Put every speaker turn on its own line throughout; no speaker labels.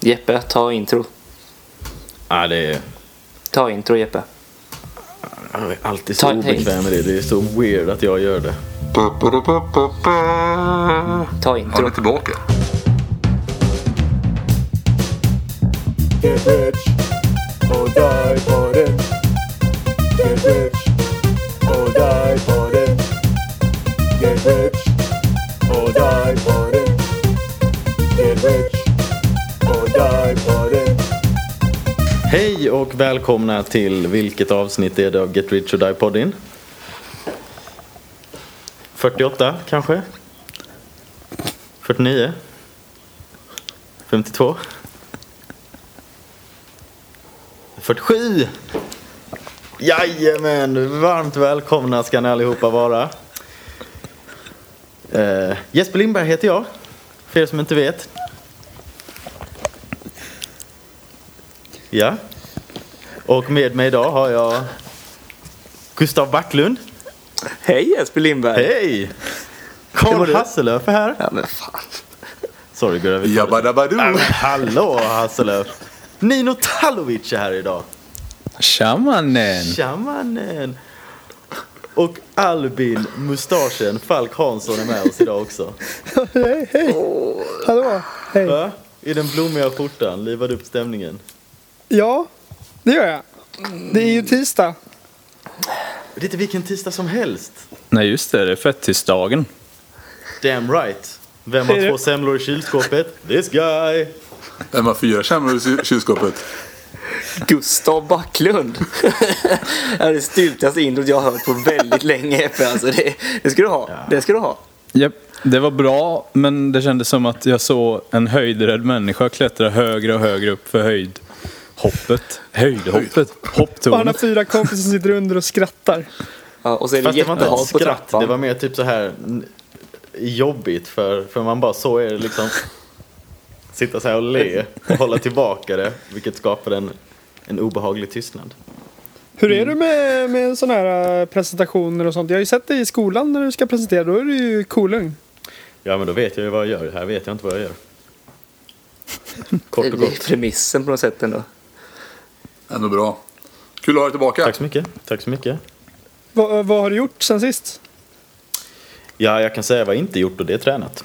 Jeppe, ta intro.
Ja, det är...
Ta intro Jeppe.
Jag är alltid
Ta-
så obekväm med det. Det är så weird att jag gör det.
Han
Ta intro.
är tillbaka.
Get rich or die for it. Get rich or die for it. Get rich or die for it. Get rich or die for it.
Hej och välkomna till vilket avsnitt är det av Get Rich or Die podden? 48 kanske? 49? 52? 47! Jajamän! Varmt välkomna ska ni allihopa vara. Eh, Jesper Lindberg heter jag, för er som inte vet. Ja. Och med mig idag har jag Gustav Backlund.
Hej Jesper Lindberg.
Hej!
Det var
Karl
du.
Hasselöf är här.
Ja men fan.
Sorry Gurra. vi-
Jabba dabba
Nej, men
doo.
Hallå Hasselöf! Nino Talovic är här idag.
Shamanen!
Shamanen! Och Albin Mustaschen Falk Hansson är med oss idag också.
Hej, hej! Hallå! Hej!
Va? I den blommiga skjortan, livade upp stämningen.
Ja, det gör jag. Det är ju tisdag.
Det är inte vilken tisdag som helst.
Nej just det, det är fettisdagen.
Damn right. Vem har
Är det-
två semlor i kylskåpet? This guy!
Men varför gör sämre i ky- kylskåpet?
Gustav Backlund. det är det styltigaste introt jag har hört på väldigt länge Jeppe. Alltså det, det ska du ha. Det ska du ha.
Japp, det var bra men det kändes som att jag såg en höjdrädd människa klättra högre och högre upp för höjdhoppet. Höjdhoppet?
Och han har
Hopptornet.
fyra kompisar som sitter under och skrattar.
Ja, och så är det
Fast det var inte ett
jättehalt på
skratt,
trappan.
det var mer typ så här n- jobbigt för, för man bara så är det liksom. Sitta så här och le och hålla tillbaka det, vilket skapar en, en obehaglig tystnad. Mm.
Hur är du med, med sådana här äh, presentationer och sånt? Jag har ju sett dig i skolan när du ska presentera. Då är du ju kolugn.
Ja men då vet jag ju vad jag gör, här vet jag inte vad jag gör. Kort och
Det är
gott.
premissen på något sätt ändå.
Ändå bra. Kul att ha dig tillbaka.
Tack så mycket, tack så mycket.
Va, eh, vad har du gjort sen sist?
Ja, jag kan säga vad jag inte gjort och det är tränat.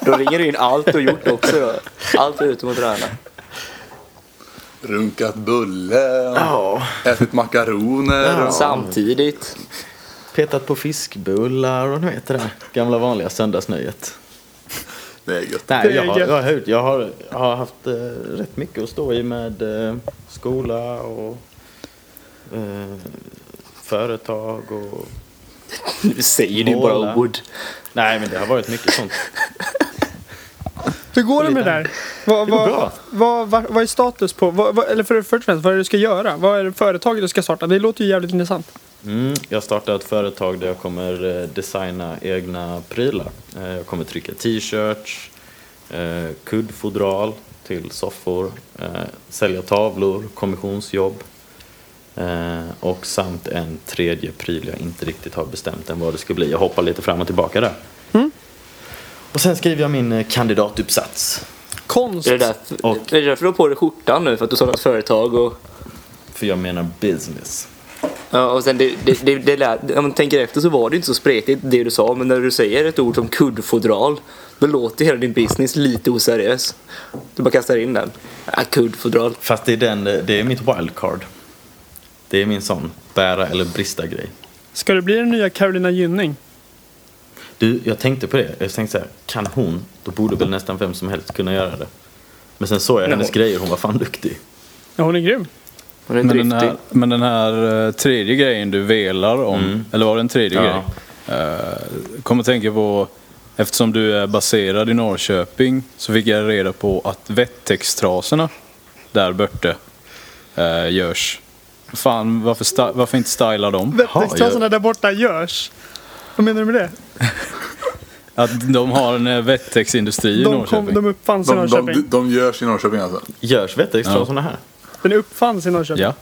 Då ringer du in allt du gjort också då. Allt utom att träna.
Runkat bulle.
Ja.
Ätit makaroner.
Samtidigt.
Petat på fiskbullar och ni vet det där gamla vanliga söndagsnöjet.
Det är gött.
Nej,
Det
jag
är
har,
gött.
jag, har, höjt- jag har, jag har haft eh, rätt mycket att stå i med eh, skola och eh, företag och...
Nu säger du bara
Måla.
ord.
Nej, men det har varit mycket sånt.
Hur går det med det där? Vad,
går
vad,
bra.
vad, vad, vad är status på? Vad, vad, eller för, först och främst, vad är det du ska göra? Vad är det företaget du ska starta? Det låter ju jävligt intressant.
Mm, jag startar ett företag där jag kommer eh, designa egna prylar. Eh, jag kommer trycka t-shirts, eh, kuddfodral till soffor, eh, sälja tavlor, kommissionsjobb eh, och samt en tredje pryl jag inte riktigt har bestämt än vad det ska bli. Jag hoppar lite fram och tillbaka där. Och sen skriver jag min eh, kandidatuppsats.
Konst.
Är det, därför,
Och-
är det därför du har på dig skjortan nu? För att du startat företag och...
För jag menar business.
Ja, och sen det, det, det, det lät, om man tänker efter så var det inte så spretigt det du sa, men när du säger ett ord som kuddfodral, då låter hela din business lite oseriös. Du bara kastar in den. Ja, kuddfodral.
Fast det är, den, eh, det är mitt wildcard. Det är min sån bära eller brista grej.
Ska det bli den nya Carolina Gynning?
Du, jag tänkte på det. Jag tänkte så här, kan hon, då borde väl nästan vem som helst kunna göra det. Men sen såg jag hennes grejer, hon var fan duktig.
Ja, hon är grym.
Hon är
Men den,
driftig.
här, men den här eh, tredje grejen du velar om, eller var det en tredje
Mm. Ja.
grej? Eh, Kom att tänka på, eftersom du är baserad i Norrköping så fick jag reda på att vettextraserna där borta eh, görs. Fan, varför, sta- varför inte styla dem?
Vettextraserna där borta görs. Vad menar du med det?
Att de har en eh, vettexindustri i
De,
Norrköping.
kom, de uppfanns i
De, de,
Norrköping.
de görs i Norrköping alltså.
Görs vettextrasorna här?
Den uppfanns i Norrköping.
Ja,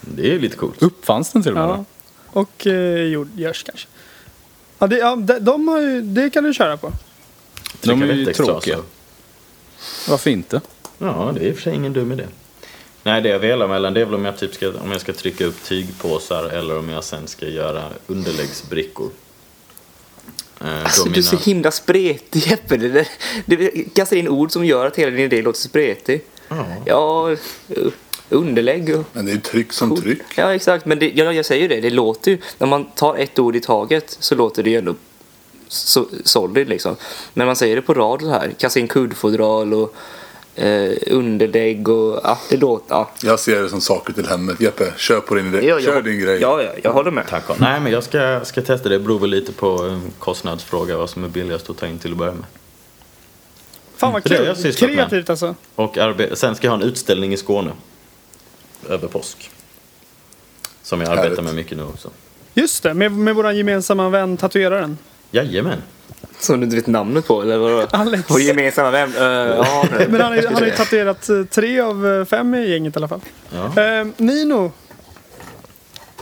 Det är ju lite coolt.
uppfanns den till och med?
Ja.
då?
Och eh, gjord- görs kanske. Ja, det, ja, de, de har ju, det kan du köra på.
De är ju
Trycka vettextrasor.
tråkiga. Varför inte?
alltså. Ja, det är i och för sig ingen dum idé. Nej, det jag velar mellan det är väl om jag, typ ska, om jag ska trycka upp tygpåsar eller om jag sen ska göra underläggsbrickor. Eh,
Alltså
då
du är så himla spretig Jeppe. Det, där- du kastar in ord som gör att hela din idé låter spretig.
Ja.
Ja, u- underlägg och...
Men det är ju tryck som tryck.
Ja exakt, men det, jag, jag säger ju det, det låter ju, när man tar ett ord i taget så låter det ju ändå so, solid liksom. När man säger det på rad så här, kasta in kuddfodral och eh, underlägg och ja, det låter, ja.
Jag ser det som saker till hemmet. Jeppe, kör på din idé.
Ja,
kör
jag,
din grej.
Ja, ja, jag håller med.
Tack. och- Nej, men jag ska, ska testa det. Det beror väl lite på eh, kostnadsfråga vad som är billigast att ta in till att börja med.
Fan vad
Det har
kul.
jag sysslat med.
Kreativt alltså.
Och arbe- sen ska jag ha en utställning i Skåne. Över påsk. Som jag arbetar
Härligt.
med mycket nu också.
Just det, med, med vår gemensamma vän tatueraren.
Jajamän.
Som du inte vet namnet på eller vadå?
Alex.
Vår gemensamma vän? Eh, ja,
Men han, är, han har ju tatuerat eh, tre av eh, fem i gänget i alla fall.
Ja.
Eh, Nino.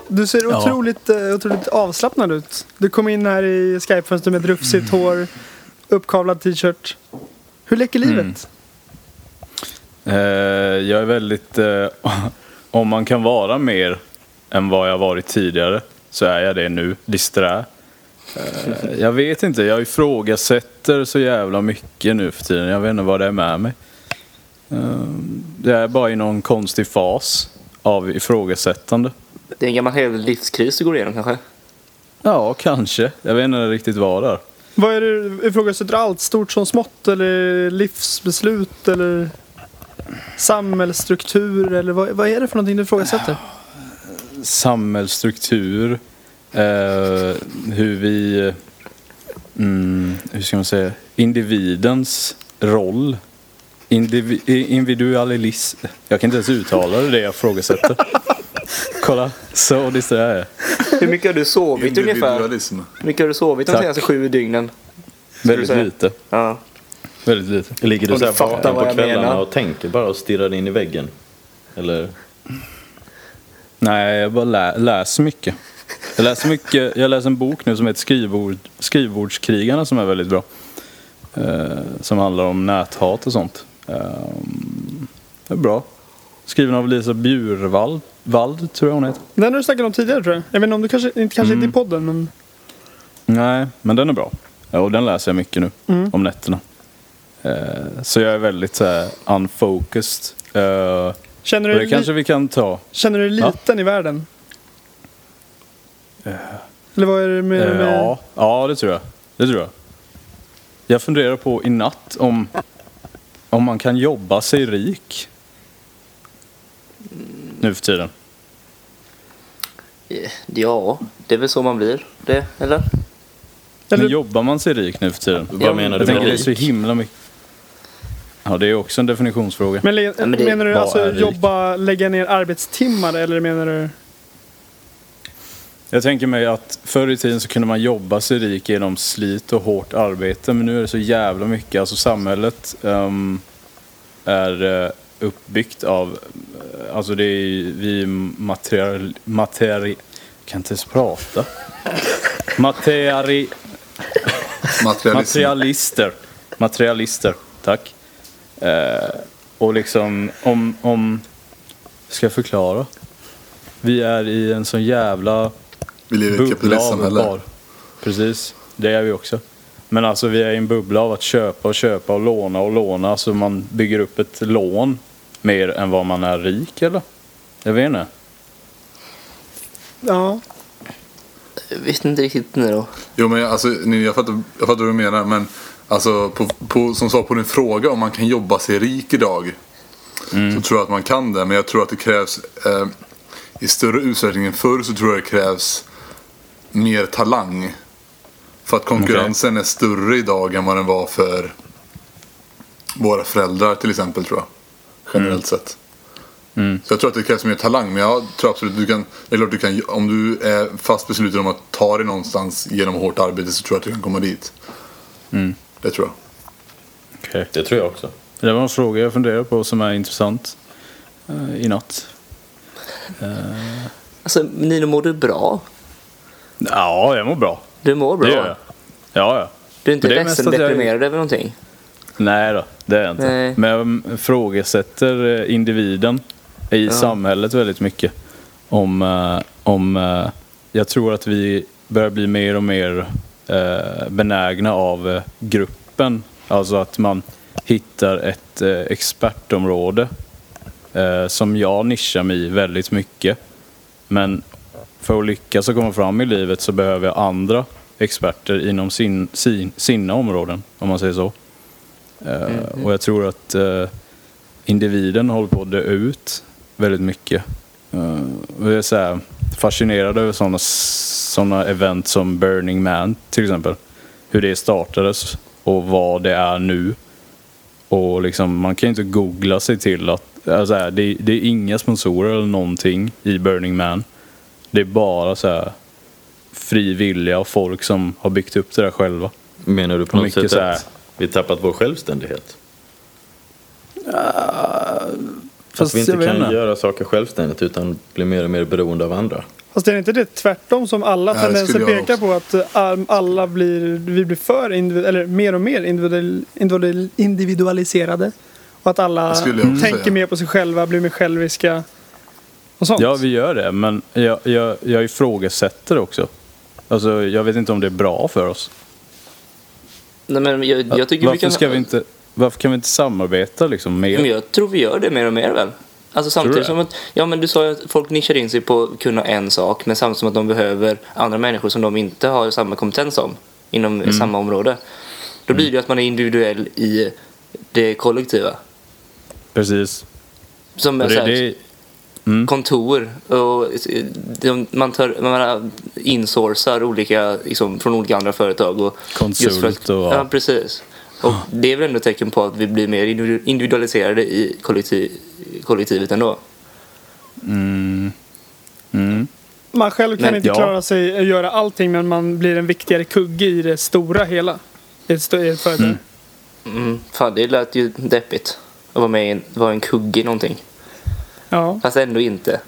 Du ser otroligt, eh, otroligt avslappnad ut. Du kom in här i Skype-fönstret med ett rufsigt
Mm.
hår, uppkavlad t-shirt. Hur läcker
Mm.
livet?
Eh, jag är väldigt... Eh, om man kan vara mer än vad jag varit tidigare så är jag det nu. Disträ. Eh, jag vet inte, jag ifrågasätter så jävla mycket nu för tiden. Jag vet inte vad det är med mig. Eh, jag är bara i någon konstig fas av ifrågasättande.
Det är en gammal hel livskris du går igenom kanske?
Ja, kanske. Jag vet inte riktigt vad det är.
Vad är det du ifrågasätter allt? Stort som smått eller livsbeslut eller samhällsstruktur eller vad, vad är det för någonting du ifrågasätter?
samhällsstruktur, eh, hur vi, mm, hur ska man säga, individens roll, indivi- i- individualism. Jag kan inte ens uttala det, det jag frågasätter. Kolla, så disträ jag är.
Hur mycket har du sovit ungefär? Hur
Individualism.
mycket har du sovit de
Tack.
senaste sju dygnen?
Väldigt
säga?
lite,
Ja.
väldigt lite.
Ligger du
Om
så
du
här
fattar
vaken
vad
på
jag
kvällarna
menar.
och tänker bara och stirrar in i väggen? Eller?
Nej, jag bara lä- läser mycket. Jag läser mycket. Jag läser en bok nu som heter Skrivbord, Skrivbordskrigarna som är väldigt bra. Eh, som handlar om näthat och sånt. Eh, det är bra. Skriven av Lisa Bjurvald, Wald, tror jag hon heter.
Den har du snackat om tidigare tror jag. Jag vet inte om du kanske, inte, kanske
Mm.
inte i podden men
Nej, men den är bra. Ja, och den läser jag mycket nu, om nätterna. Eh, så jag är väldigt så här, unfocused. Eh, och
känner du,
det
dig
kanske vi kan ta.
li- känner du dig
Ja.
liten i världen? Eller vad är det med...
Eh,
med...
Ja, ja, det tror jag. Det tror jag. Jag funderar på i natt om, om man kan jobba sig rik. Nu för tiden.
Ja, det är väl så man blir det, eller?
Men
Eller,
jobbar man sig rik nu för tiden?
Vad menar
Jag
du med
tänker det är så
rik?
himla mycket. Ja, det är också en definitionsfråga.
men, le-
men det-
menar du
Vad
alltså
är rik?
jobba, lägga ner arbetstimmar eller menar du...
Jag tänker mig att förr i tiden så kunde man jobba sig rik genom slit och hårt arbete. Men nu är det så jävla mycket. Alltså samhället ehm, är eh, uppbyggt av... eh, Alltså det är vi material... Materi... Jag kan inte ens prata. Materi...
Materialism.
Materialister. Materialister, tack. Eh, och liksom om, om... Ska jag förklara? Vi är i en sån jävla
Vi lever i ett
bubbla av att
kapitalistsamhälle.
bara... Precis, det är vi också. Men alltså vi är i en bubbla av att köpa och köpa och låna och låna. Så man bygger upp ett lån mer än vad man är rik eller? Jag vet inte.
Ja.
Jag vet inte riktigt nu då.
Jo men jag- alltså, ni- jag fattar, jag fattar vad du menar men alltså, på, på, som svar på din fråga om man kan jobba sig rik idag. Så tror jag att man kan det men jag tror att det krävs eh, i större utsträckning än förr så tror jag det krävs mer talang. För att konkurrensen är större idag än vad den var för våra föräldrar till exempel tror jag. Generellt sett. Så jag tror att det krävs mer talang. Men jag tror absolut att du kan, det är klart du kan, om du är fast besluten om att ta dig någonstans genom hårt arbete så tror jag att du kan komma dit. Det tror jag.
Okay.
Det tror jag också.
Det var en fråga jag funderade på som är intressant eh, i natt.
Alltså, Nino, mår du bra?
Ja, jag mår bra.
Du mår bra?
Det gör jag. Ja, ja.
Du är inte
Men det är mest
ledsen,
att jag är-
deprimerad över någonting?
Nej då, det är jag inte.
Nej.
Men jag mm, frågesätter eh, individen i samhället väldigt mycket. Om, eh, om eh, jag tror att vi börjar bli mer och mer eh, benägna av eh, gruppen. Alltså att man hittar ett eh, expertområde eh, som jag nischar mig i väldigt mycket. Men för att lyckas och komma fram i livet så behöver jag andra experter inom sin, sin, sina områden, om man säger så. Eh,
Mm,
Och jag tror att eh, individen håller på att dö ut väldigt mycket. Eh, och jag är så här fascinerad över sådana såna event som Burning Man till exempel. Hur det startades och vad det är nu. Och liksom, man kan ju inte googla sig till att alltså här, det, det är inga sponsorer eller någonting i Burning Man. Det är bara så här frivilliga och folk som har byggt upp det där själva.
Menar du på något
Mycket
sätt
så här-
att vi tappat vår självständighet? Att
Fast
vi
jag
inte
vet
kan
inte.
göra saker självständigt utan blir mer och mer beroende av andra?
Fast är det inte det tvärtom som alla
Ja, det
tendenser
skulle jag
pekar på? Att eh, all- alla blir, vi blir för individ, eller mer och mer individuell, individuell- individualiserade. Och att alla
Det skulle jag också
tänker
säga.
mer på sig själva, blir mer själviska. Och sånt.
Ja, vi gör det, men jag, jag, jag ifrågasätter också. Alltså, jag vet inte om det är bra för oss.
Nej, men jag, jag tycker
varför,
vi kan...
ska vi inte, varför kan vi inte samarbeta liksom, mer?
Men jag tror vi gör det mer och mer väl? Alltså samtidigt
Tror
som
du
att, ja men du sa ju att folk nischar in sig på att kunna en sak men samtidigt som att de behöver andra människor som de inte har samma kompetens om inom
Mm.
samma område. Då blir det ju att man är individuell i det kollektiva.
Precis.
Som
Och
så
Det,
här,
det,
kontor och eh, de, man, tar, man insourcar olika, liksom, från olika andra företag. Och
Konsult
just för att-
och- Ah.
Ja, precis. Och det är väl ändå ett tecken på att vi blir mer individu- individualiserade i kollektiv, kollektivet ändå.
Man själv kan
Nej,
inte
ja.
klara sig och göra allting men man blir en viktigare kugge i det stora hela. I ett, sto- i ett företag.
Mm, fan, det lät ju deppigt. Att vara med i en, vara en kugge i någonting.
Ja.
Fast ändå inte.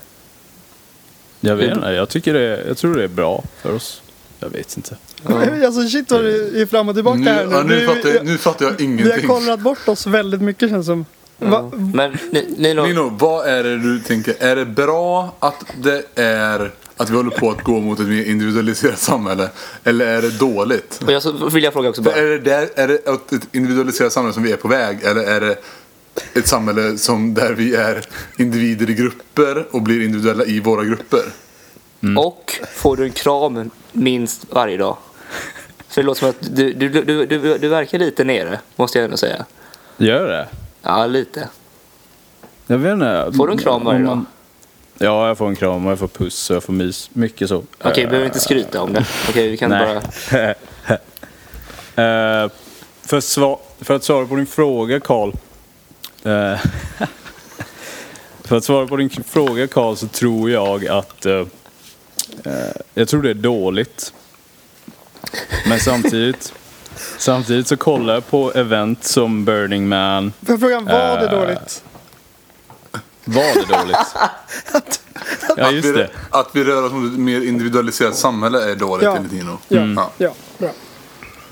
jag vet
Mm.
inte, jag, tycker det, jag tror det är bra för oss. Jag vet inte.
Alltså shit vad det är fram och tillbaka
Nu,
här nu.
ja, nu,
Vi-
fattar jag, nu fattar jag
vi har
ingenting.
kollrat bort oss väldigt mycket känns som. Va,
Men ni, Nino,
Nino, vad är det du tänker? Är det bra att det är att vi håller på att gå mot ett mer individualiserat samhälle? Eller är det dåligt?
och jag så vill jag fråga också
För
bara.
är, det där, är det åt ett individualiserat samhälle som vi är på väg? Eller är det ett samhälle som, där vi är individer i grupper och blir individuella i våra grupper?
Och får du en kram minst varje dag. För det låter som att du, du, du, du, du verkar lite nere, måste jag ändå säga.
Gör det?
Ja, lite.
Jag vet inte.
Får du en kram varje
Mm, Om
dag?
Ja, jag får en kram och jag får puss och jag får mys. Mycket så.
Okej, vi behöver inte skryta om det. Okej, vi kan
Nej.
bara...
Eh, för, att sva- för att svara på din fråga Karl. Eh, för att svara på din k- fråga Karl så tror jag att eh, eh, jag tror det är dåligt. Men samtidigt samtidigt så kollar jag på event som Burning Man.
Får jag fråga, var det
Eh,
dåligt?
Var det dåligt? Ja just det.
Att vi rör oss mot ett mer individualiserat samhälle är dåligt
Ja.
enligt Nino.
Ja,
Mm.
Mm. Ja.
ja,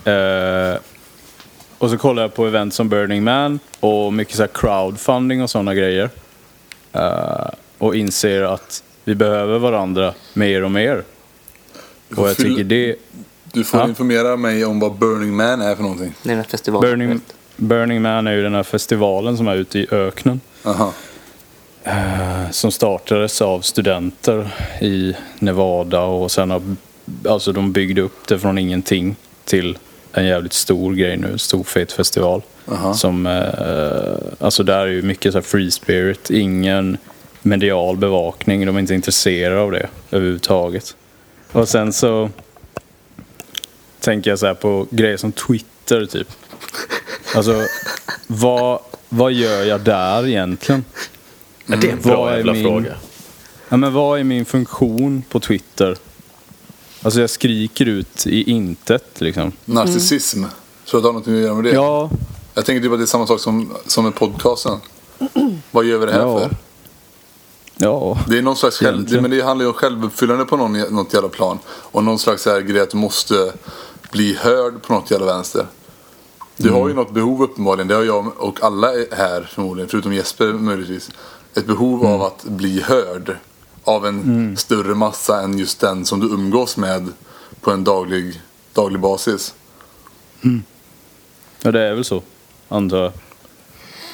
bra.
Eh, och så kollar jag på event som Burning Man och mycket så här crowdfunding och sådana grejer. Eh, och inser att vi behöver varandra mer och mer. Och jag tycker det...
Du får
Ja.
informera mig om vad Burning Man är för någonting.
Det är den här festivalen.
Burning, Burning Man är ju den här festivalen som är ute i öknen.
Aha.
som startades av studenter i Nevada och sen har, alltså de byggde upp det från ingenting till en jävligt stor grej nu, stor fet festival.
Aha.
Som, eh, alltså där är ju mycket så här free spirit, ingen medial bevakning, de är inte intresserade av det överhuvudtaget. Och sen så tänker jag så här på grejer som Twitter typ. Alltså, vad, vad gör jag där egentligen?
Ja, det är en
Vad
bra
är
jävla
min-
fråga.
Ja, men vad är min funktion på Twitter? Alltså jag skriker ut i intet liksom.
Narcissism. Tror du att det har något att göra med det?
Ja,
Jag tänker typ att det är samma sak som, som med podcasten. Vad gör vi det här
Ja.
för?
ja.
Det är någon slags själv, det,
Egentligen.
men det handlar ju om självuppfyllande på någon, något jävla plan. Och någon slags så här grej att du måste bli hörd på något jävla vänster. Du har ju
Mm.
något behov uppenbarligen, det har jag och alla här förmodligen, förutom Jesper möjligtvis. Ett behov av
Mm.
att bli hörd av en större massa än just den som du umgås med på en daglig, daglig basis.
Ja, det är väl så. Antar jag.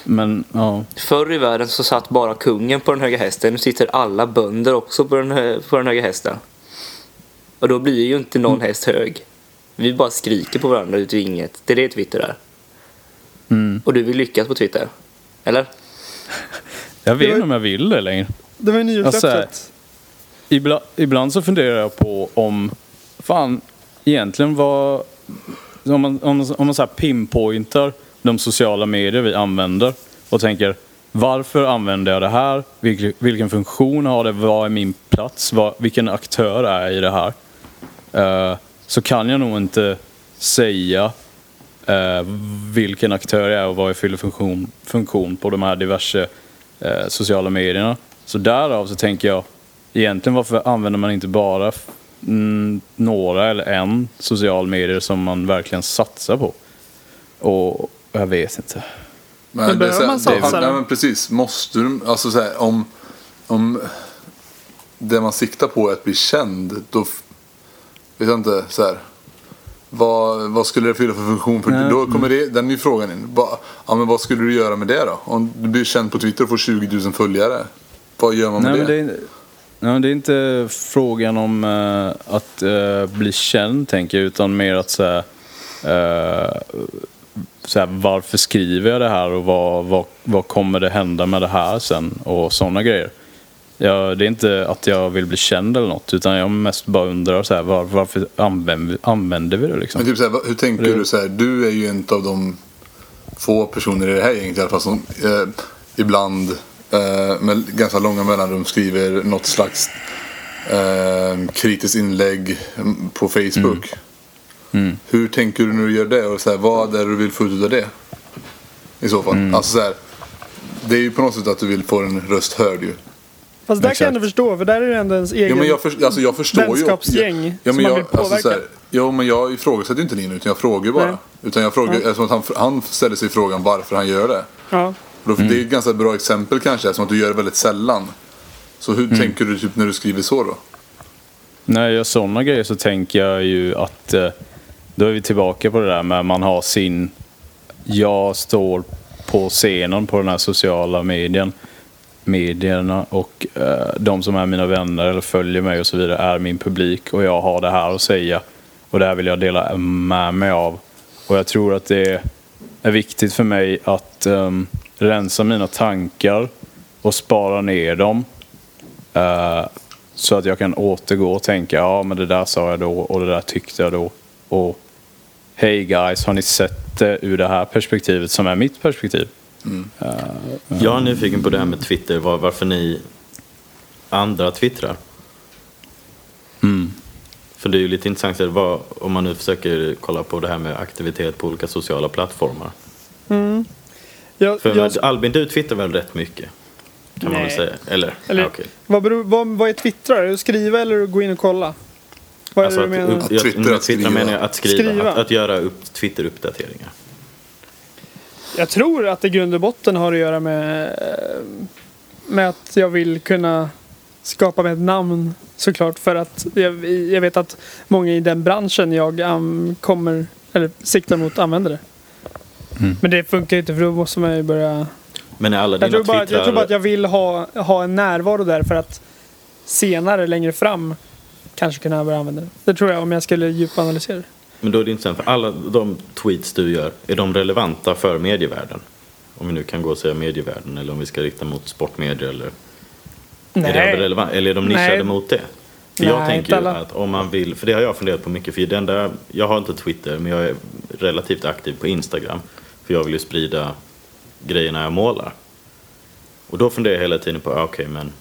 Men ja.
Förr i världen så satt bara kungen på den höga hästen. Nu sitter alla bönder också på den, hö- på den höga hästen. Och då blir ju inte
Mm.
någon häst hög. Vi bara skriker på varandra ut i inget. Det är det Twitter är.
Mm.
Och du vill lyckas på Twitter. Eller?
Jag vet
Det var-
inte om jag vill det längre.
Det var ju nyårslöftet.
Alltså, Ibla, ibland så funderar jag på om, fan, egentligen vad, om man, om, man- om man så här pinpointar de sociala medier vi använder och tänker, varför använder jag det här? Vilken, vilken funktion har det? Vad är min plats? Vad, vilken aktör är jag i det här? Eh, så kan jag nog inte säga eh, vilken aktör jag är och vad jag fyller funktion, funktion på de här diverse eh, sociala medierna. Så därav så tänker jag, egentligen varför använder man inte bara f- mm, några eller en social medier som man verkligen satsar på? Och jag vet inte.
Men
Men
det är
behöver
så här-
man satsa
det- Nej
då?
men precis, måste du, alltså så här, om, om det man siktar på är att bli känd, då f- vet jag inte så här. Vad, vad skulle det fylla för funktion? För
Nej.
då kommer det, den är ju frågan in. Va, ja, men vad skulle du göra med det då? Om du blir känd på Twitter och får 20 000 följare. Vad gör man med
Nej, men
det?
det, är, nej, men det är inte frågan om eh, att eh, bli känd, tänker jag, utan mer att säga så här, varför skriver jag det här och vad, vad, vad kommer det hända med det här sen och sådana grejer. Jag, det är inte att jag vill bli känd eller något, utan jag mest bara undrar så här, var, varför använder, använder vi det
Men
liksom?
typ så här, vad- hur tänker
Det-
du så här? Du är ju en av de få personer i det här gänget i alla fall som eh, ibland eh, med ganska långa mellanrum skriver något slags eh, kritiskt inlägg mm, på Facebook. Hur tänker du när du gör det? Och så här, vad är det du vill få ut av det? I så fall. Alltså så här, det är ju på något sätt att du vill få en röst hörd ju.
Fast där kan jag
Exakt.
ändå förstå, för där är det ändå ens egen...
Ja, men jag, för, alltså, jag förstår ju...
vänskapsgäng
ja,
som
men
man
jag,
blir
alltså, så här,
påverkad.
Jo, men jag ifrågasätter ju inte Linn, utan jag frågar ju bara.
Nej.
Utan jag frågar, eftersom att han, han ställer sig frågan varför han gör det.
Ja.
Och då, Det är ett ganska bra exempel kanske, eftersom att du gör det väldigt sällan. Så hur tänker du typ när du skriver så då?
När jag gör sådana grejer så tänker jag ju att eh, då är vi tillbaka på det där med att man har sin... Jag står på scenen på den här sociala medien, medierna och eh, de som är mina vänner eller följer mig och så vidare är min publik och jag har det här att säga och det här vill jag dela med mig av. Och jag tror att det är viktigt för mig att ehm, rensa mina tankar och spara ner dem Eh, så att jag kan återgå och tänka, ja men det där sa jag då och det där tyckte jag då. Och hej guys, har ni sett det ur det här perspektivet som är mitt perspektiv?
Jag är nyfiken på det här med Twitter, var, varför ni andra twittrar.
Mm.
För det är ju lite intressant, så här, vad, om man nu försöker kolla på det här med aktivitet på olika sociala plattformar.
Jag,
För alltså,
jag,
Albin, du twittrar väl rätt mycket? Kan man väl
Nej.
säga? Eller?
Eller-
Ah,
ja, okej.
vad, beror, vad, vad är twittrar? Är det att skriva eller att gå in och kolla? Vad är
Alltså
det du
att,
menar?
upp,
Att
jag,
twittra,
med
att
twittrar
skriva.
menar jag att skriva,
Skriva.
Att, att göra upp Twitter-uppdateringar.
Jag tror att det i grund och botten har att göra med, eh, med att jag vill kunna skapa mig ett namn såklart för att jag, jag vet att många i den branschen jag um, kommer, eller siktar mot använder det. Men det funkar ju inte för då måste man ju börja...
Men Mm. är alla
Jag
dina
tror, bara, jag tror bara
twittrar...
att jag vill ha, ha en närvaro där för att senare, längre fram, kanske kunna börja använda det. Det tror jag om jag skulle djupanalysera det.
Men då är det intressant, för alla de tweets du gör, är de relevanta för medievärlden? Om vi nu kan gå och säga medievärlden eller om vi ska rikta mot sportmedier eller... Är det överrelevant? Eller är de nischade
Nej.
mot det? För
Nej,
jag tänker
inte
ju
alla.
att om man vill, för det har jag funderat på mycket, för det enda, jag har inte Twitter men jag är relativt aktiv på Instagram. För jag vill ju sprida grejerna jag målar. Och då funderar jag hela tiden på, ah, okej men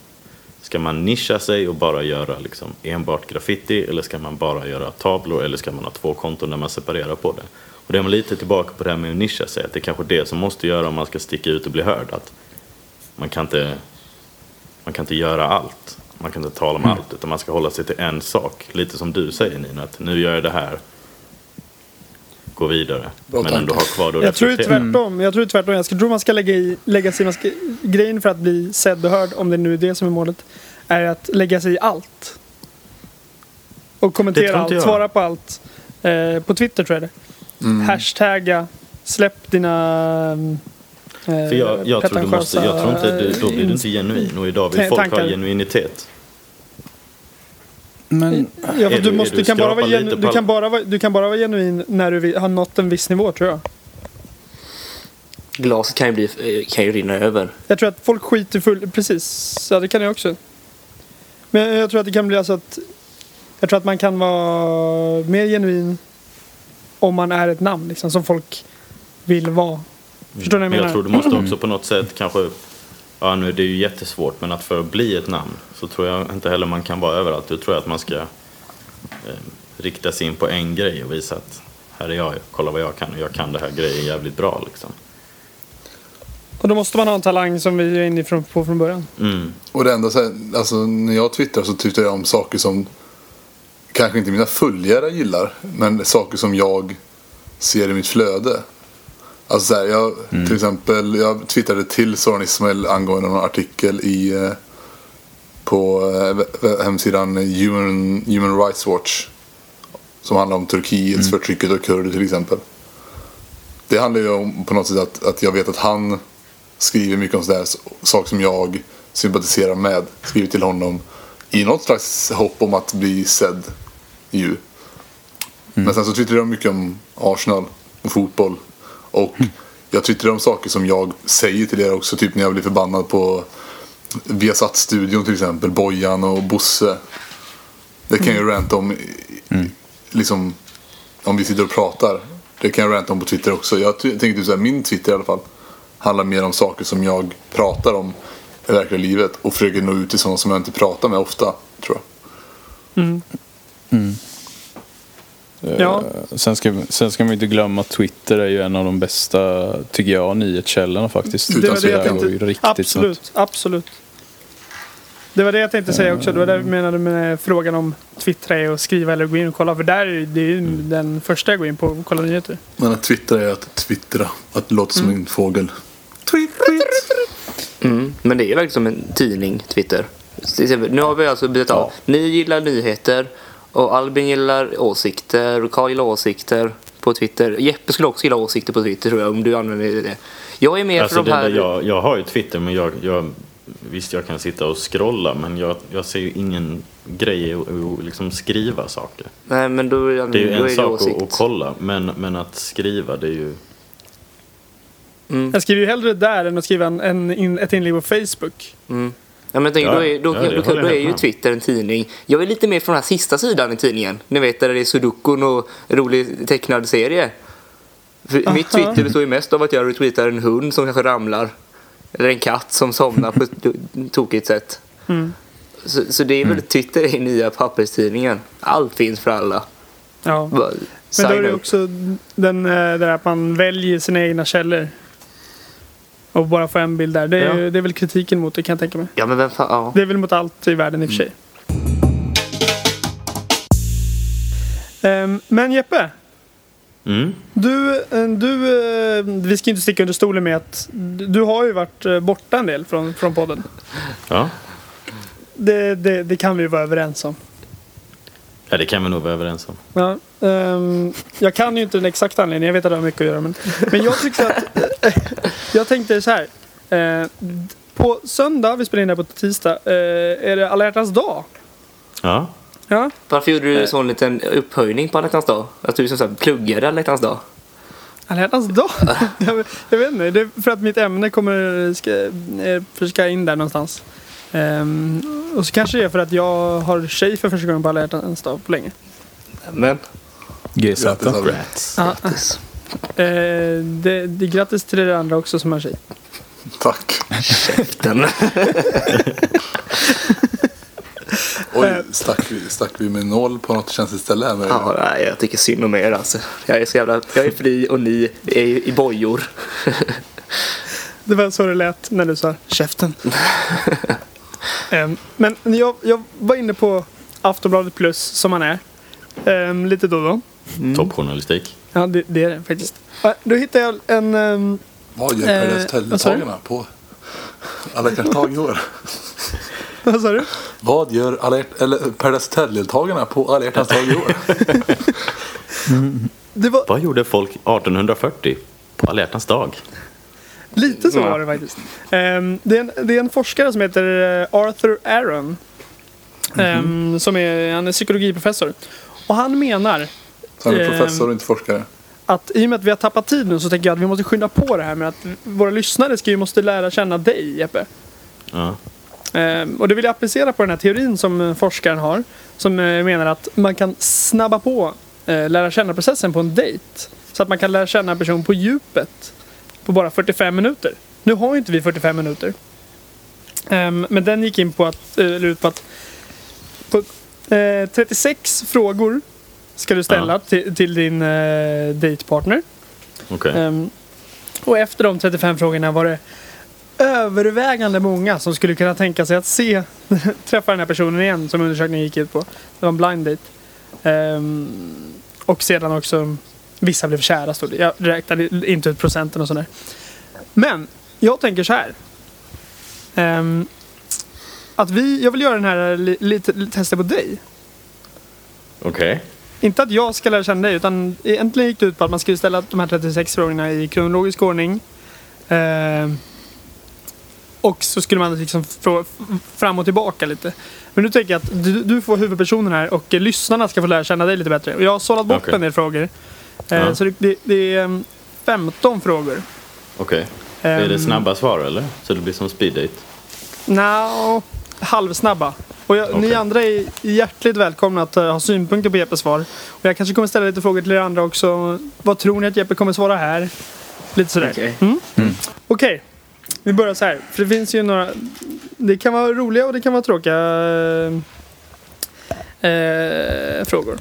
ska man nischa sig och bara göra liksom enbart graffiti eller ska man bara göra tavlor eller ska man ha två konton där man separerar på det? Och det är man lite tillbaka på det här med att nischa sig, att det är kanske det som måste göra om man ska sticka ut och bli hörd. Att man kan inte man kan inte göra allt. Man kan inte tala om allt utan man ska hålla sig till en sak. Lite som du säger Nina, att nu gör jag det här. gå vidare.
Bra
men ändå ha
tanke.
kvar det och
Jag tror ju
reflektera.
tvärtom. Jag tror ju tvärtom. Jag ska- tror man ska lägga, i, lägga sig, man ska, grejen för att bli sedd och hörd, om det nu är det som är målet, är att lägga sig i allt. Och
Det
kommentera
tror inte
allt,
jag.
svara på allt. Eh, på Twitter tror jag det.
Mm.
Hashtagga, släpp dina... Eh,
För jag, jag, tror du måste, jag tror inte, du, då blir du inte genuin och idag vill
Nej,
folk
tankar.
ha genuinitet.
Men
Ja, för
Är
du,
du-
måste,
är
du,
du
kan bara vara
skrapar
genu,
lite på
du, kan
allt?
bara vara, du kan bara vara genuin när du vi- har nått en viss nivå tror jag.
Glaset kan ju, bli, eh, kan ju rinna över.
Jag tror att folk skiter full... Precis, ja det kan jag också. Men jag- jag tror att det kan bli alltså att... Jag tror att man kan vara mer genuin om man är ett namn liksom, som folk vill vara. Förstår ni vad
Men
jag
jag tror
menar?
du måste också på något sätt kanske, ja nu det är ju jättesvårt, men att för att bli ett namn så tror jag inte heller man kan vara överallt. Då tror jag att man ska eh, rikta sig in på en grej och visa att här är jag, kolla vad jag kan och jag kan det här grejen jävligt bra liksom.
Och då måste man ha en talang som vi är inne ifrån- på från början.
Mm.
Och det enda så här, alltså när jag twittrar så twittrar jag om saker som kanske inte mina följare gillar. Men saker som jag ser i mitt flöde. Alltså så här, jag, till exempel, jag twittrade till Soran Ismail angående någon artikel i, eh, på eh, we- we- hemsidan Human, Human Rights Watch. Som handlar om Turkiets förtrycket av kurder till exempel. Det handlar ju om på något sätt att, att jag vet att han skriver mycket om sådär s- saker som jag sympatiserar med. Skriver till honom i något slags hopp om att bli sedd. Ju. Men sen så twittrar jag mycket om Arsenal och fotboll. Och jag twittrar om saker som jag säger till er också. Typ när jag blir förbannad på Viasat-studion till exempel. Bojan och Bosse. Det kan jag ju ranta om. i- i- Liksom, om vi sitter och pratar. Det kan jag ranta om på Twitter också. Jag ty- tänker typ så här, min Twitter i alla fall handlar mer om saker som jag pratar om i verkliga livet och försöker nå ut till sådana som jag inte pratar med ofta, tror jag.
Ja.
sen ska, sen ska man inte glömma att Twitter är ju en av de bästa, tycker jag, nyhetskällorna faktiskt.
Utan
var
tvekan.
det går ju
tänkte-
riktigt
absolut,
snabbt.
absolut. Det var det jag tänkte säga också. Det var det jag menade med frågan om twittra och skriva eller gå in och kolla. För där är ju- det är ju den första jag går in på och kollar nyheter.
Men att twittra är att twittra. Att låta
Mm.
som en fågel. Tweet, tweet.
Mm. Men det är verkligen som en tidning, Twitter. Till exempel, Nu har vi alltså betat av. Ni gillar nyheter och Albin gillar åsikter och Karl gillar åsikter på Twitter. Jeppe skulle också gilla åsikter på Twitter tror jag om du använder det. Jag är mer
Alltså
för de
det
här...
där, jag, jag har ju Twitter men jag, jag Visst jag kan sitta och scrolla men jag, jag ser ju ingen grej i att att liksom skriva saker.
Nej men då, är
Det är ju
Mm, då är
en
det
sak
åsikt.
att, att kolla men, men att skriva det är ju
Jag skriver ju hellre där än att skriva en, en, in, ett inlägg på Facebook.
Ja, men jag tänker,
Ja,
då är, då,
ja, det
då,
håller
då,
jag
är
helt
ju
med om.
Twitter en tidning. Jag är lite mer från den här sista sidan i tidningen. Ni vet där det är sudokun och rolig tecknad serie. För Mitt Twitter består ju mest av att jag retweetar en hund som kanske ramlar. Eller en katt som somnar på ett do- tokigt sätt.
Mm.
Så, så det är väl
Mm.
Twitter i nya papperstidningen. Allt finns för alla.
Ja.
Bara
Men då är
sign
det
up.
också den eh, där att man väljer sina egna källor. Och bara får en bild där. Det är,
Ja.
det är väl kritiken mot det kan jag tänka mig.
Ja men vem fan, ja.
Det är väl mot allt i världen i och för sig. Ehm, men Jeppe.
Mm.
Du, eh, du, eh, vi ska ju inte sticka under stolen med att du du har ju varit eh, borta en del från, från podden.
Ja.
Det, det, det kan vi ju vara överens om.
ja, det kan vi nog vara överens om.
Ja, ehm, jag kan ju inte den exakta anledningen, jag vet att det har mycket att göra. Men, men jag tyckte att... jag tänkte så här. eh, d- på söndag, vi spelar in det här på tisdag, eh, är det alla hjärtans dag.
Ja.
Ja,
Varför gjorde du en sån liten upphöjning på alla hjärtans dag? Att du som sagt pluggade alla hjärtans dag?
alla hjärtans dag. jag, vet- jag vet inte, det är för att mitt ämne kommer ska, eh, försöka in där någonstans. Ehm, och så kanske det är för att jag har tjej för första gången på alla hjärtans dag på länge.
Men,
GZ.
Grattis, Albin.
grattis.
Eh, det, det, grattis till er andra också som har tjej.
Tack.
Den.
Oj, stack vi, stack vi med noll på något känsligt ställe här? Med
Ja, nej, jag tycker synd om er alltså. Jag är så jävla... Jag är fri och ni är ju i bojor.
Det var så det lät när du sa käften. Ehm, Men jag, jag var inne på Aftonbladet Plus som man är. ehm, Lite då och då.
Toppjournalistik.
Ja, det, det är det faktiskt. Ja, Då hittade jag en... ehm,
Vad gör Paradise
Eh, vad sa du?
Hotel-deltagarna på alla hjärtan i år?
Vad sa du?
Vad gör alla hjärt- eller Paradise Hotel-deltagarna på alla hjärtans dag i år?
Det var
Vad gjorde folk 1840 på alla hjärtans dag?
Lite så var det faktiskt. Ehm, det, är en, det är en forskare som heter eh, Arthur Aaron. ehm, som är, han är psykologiprofessor. Och han menar
Så han är
Ehm.
professor och inte forskare.
att i och med att vi har tappat tid nu så tänker jag att vi måste skynda på det här med att våra lyssnare ska ju måste lära känna dig Jeppe.
Ja.
Ehm, och det vill jag applicera på den här teorin som eh, forskaren har. Som eh, menar att man kan snabba på eh, lära känna-processen på en dejt. Så att man kan lära känna en person på djupet på bara 45 minuter. Nu har ju inte vi 45 minuter. Ehm, men den gick in på att, eh, eller ut på att på, eh, 36 frågor ska du ställa till, till din eh, dejtpartner.
Okej.
Ehm, och efter de 35 frågorna var det övervägande många som skulle kunna tänka sig att se, träffa den här personen igen som undersökningen gick ut på. Det var en blind date. Ehm, och sedan också vissa blev kära stod det. Jag räknade inte ut procenten och sådär. Men jag tänker så här. Ehm, att vi, jag vill göra den här li, lite, lite testet på dig.
Okej.
Inte att jag ska lära känna dig, utan egentligen gick det ut på att man skulle ställa de här 36 frågorna i kronologisk ordning. Eh, och så skulle man liksom frå- fram och tillbaka lite. Men nu tänker jag att du, du får huvudpersonen här och eh, lyssnarna ska få lära känna dig lite bättre. Och jag har sållat bort
Okej.
en del frågor. Eh,
Ja.
Så det, det, det är eh, 15 frågor.
Okej. Är
Ehm.
det snabba svar eller? Så det blir som speed date?
No, halvsnabba. Och jag, Ni
Okej.
andra är hjärtligt välkomna att eh, ha synpunkter på Jeppes svar. Och jag kanske kommer ställa lite frågor till er andra också. Vad tror ni att Jeppe kommer svara här? Lite sådär. Okej,
Okej.
vi börjar så här. För det finns ju några... Det kan vara roliga och det kan vara tråkiga eh, eh, frågor.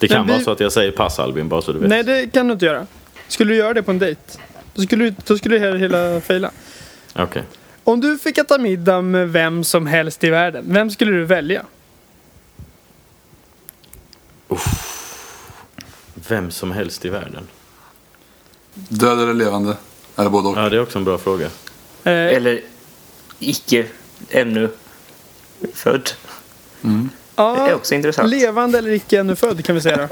Det kan
Men
vara
vi-
så att jag säger pass Albin, bara så du vet.
Nej, det kan du inte göra. Skulle du göra det på en dejt, då skulle, du- då skulle det hela fejla.
Okej.
Om du fick äta middag med vem som helst i världen, vem skulle du välja?
Vem som helst i världen.
Död eller levande? Eller både och.
Ja, det är också en bra fråga.
Eh,
Eller icke ännu född. Det är
Ja,
också intressant.
levande eller icke ännu född kan vi säga då.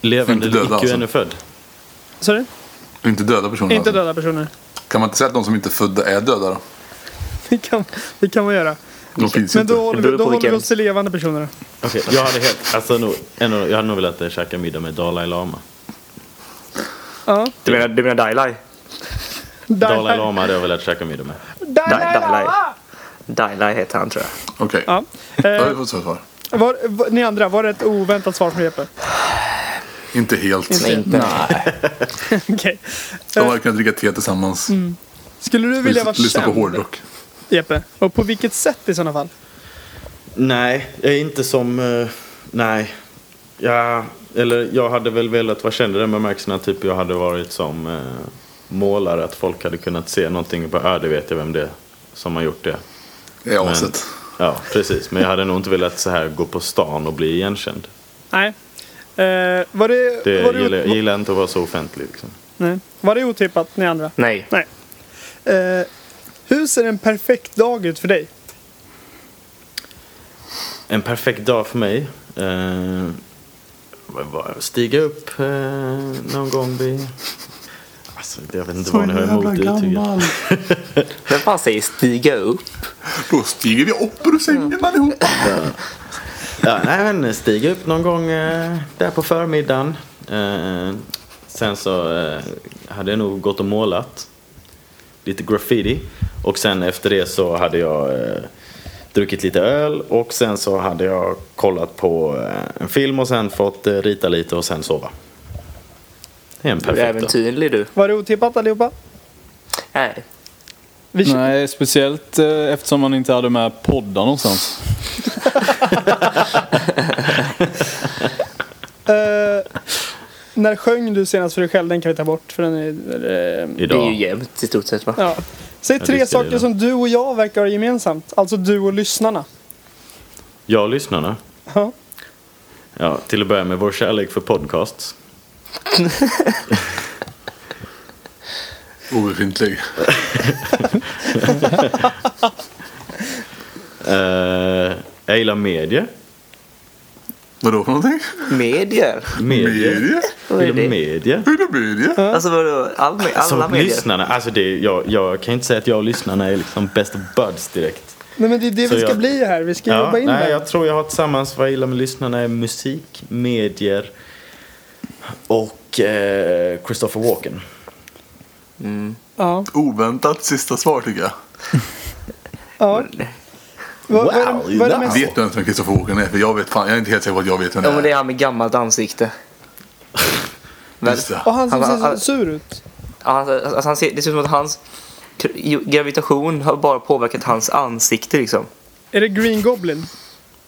Levande
Inte
eller
döda,
icke
alltså.
ännu född?
Sorry?
Inte döda personer
Inte
alltså.
döda personer.
Kan man inte säga att de som inte är födda är döda då?
Det kan, det kan man göra.
De finns
Men
inte.
då
Det
håller, vi,
beror
då
på
håller vi
vilken.
oss till levande personer. då.
Okej, jag hade helt... Alltså, nog, ändå, jag hade nog velat eh, käka middag med Dalai Lama.
Ja.
Du menar, du menar Dalai?
Dalai
Dalai
Lama hade jag velat käka middag med.
Dalai
Dalai.
Lama!
Dalai heter han tror jag.
Okej.
Ja.
Då har
Eh,
vi fått svar.
var, var, ni andra, var det ett oväntat svar från Jeppe?
Inte helt.
Inte.
Inte. Nej.
Okej. Eh,
De hade kunnat dricka te tillsammans.
Mm. Skulle du vilja
Lyssna,
vara
lyssna på
känd,
hårdrock.
Jeppe? Och på vilket sätt i sådana fall?
Nej, jag är inte som... eh, nej. Ja, eller jag hade väl velat vara känd i den bemärkelsen att typ jag hade varit som eh, målare. Att folk hade kunnat se någonting på ö, det vet jag vem det är som har gjort det.
Det är
Men-
aset.
Ja, precis. Men jag hade nog inte velat så här gå på stan och bli igenkänd.
Nej. Eh, var det...
Det
var
gillar, jag
det,
gillar inte att vara så offentlig. Liksom.
nej. Var det otippat, ni andra?
Nej.
Nej. Eh, hur ser en perfekt dag ut för dig?
En perfekt dag för mig. Eh, vad var- stiga upp eh, någon gång vid... Alltså, jag vet inte vad ni har emot uttrycket.
Vem fan säger stiga upp?
Då stiger vi upp ur sängen allihopa.
Ja, nej, men stiga upp någon gång eh, där på förmiddagen. Eh, sen så eh, hade jag nog gått och målat lite graffiti. Och sen efter det så hade jag eh, druckit lite öl och sen så hade jag kollat på eh, en film och sen fått eh, rita lite och sen sova. Det är en
Du är
perfekt dag.
äventyrlig du.
Var det otippat allihopa?
Nej.
Vi kö-
Nej, speciellt eh, eftersom man inte hade med poddar någonstans.
Eh, när sjöng du senast för dig själv? Den kan vi ta bort för den är... eh,
Det är ju
Idag.
jämnt i stort sett va?
ja. Säg
Ja, det ska
tre
jag
saker
göra.
som du och jag verkar ha gemensamt. Alltså du och lyssnarna.
Jag och lyssnarna.
Ja.
Ja, till att börja med vår kärlek för podcasts.
Obefintlig.
Eh, jag gillar medier.
Vadå för någonting?
Medier?
Medier?
Media?
Vad
Jag
är
gillar
det?
medier.
Hur är det media?
Alltså vadå? All, alla
Som
medier?
lyssnarna, alltså det, jag, jag kan inte säga att jag och lyssnarna är liksom best of buds direkt.
Nej men det är det
Så
vi ska
jag-
bli här. Vi ska
Ja,
jobba in
nej,
det.
jag tror jag har tillsammans vad jag gillar med lyssnarna är musik, medier och eh, Christopher Walken.
Ja.
Oväntat sista svar tycker jag.
ja. Vad- vad är det-
Wow,
vad är det
wow.
mest-
Vet du ens vem Kristoffer Walken är? För jag vet fan, jag är inte helt säker på att jag vet vem det
Ja men det
är.
är han med gammalt ansikte.
Just det.
Och han som
Han-
ser så
han-
sur ut.
Han, alltså, han ser, det ser ut som att hans kr- gravitation har bara påverkat hans ansikte liksom.
Är det Green Goblin?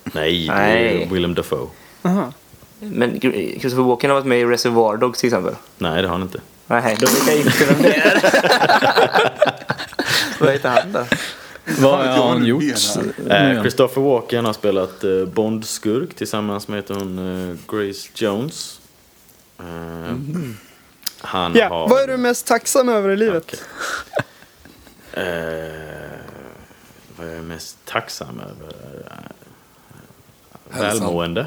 Nej, det är
Nej.
Willem Dafoe.
Aha. Mm.
Men Gr- Christopher Walken har varit med i Reservoir Dogs till exempel.
Nej, det har han inte.
Nej, då vet jag inte vem det är. Vad heter han då?
Vad
jag
har han
nu
gjort?
menar.
Eh,
Mm.
Christopher Walken har spelat eh, Bond-skurk tillsammans med heter hon eh, Grace Jones. Eh, Han
Ja,
har...
vad är du mest tacksam över i livet?
Okej. Eh, vad är jag mest tacksam över? Eh,
Hälsan.
Välmående.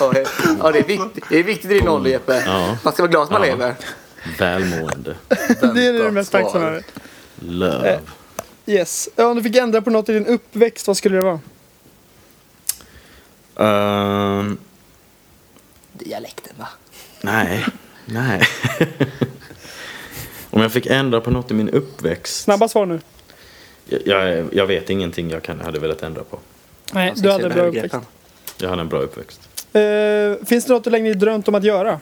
Ja, det- Ja, det är viktigt, det är viktigt i din ålder Jeppe.
Ja.
Man ska vara glad att man
Ja.
lever.
Välmående.
Det är det du mest tacksam över.
Love.
Yes. Ja, om du fick ändra på något i din uppväxt, vad skulle det vara?
Ehm,
Dialekten va?
nej. Nej. Om jag fick ändra på något i min uppväxt.
Snabba svar nu.
Jag- Jag, jag vet ingenting jag kan, hade velat ändra på.
Nej,
Alltså,
du hade en bra uppväxt.
Jag hade en bra uppväxt.
Eh, finns det något du länge drömt om att göra?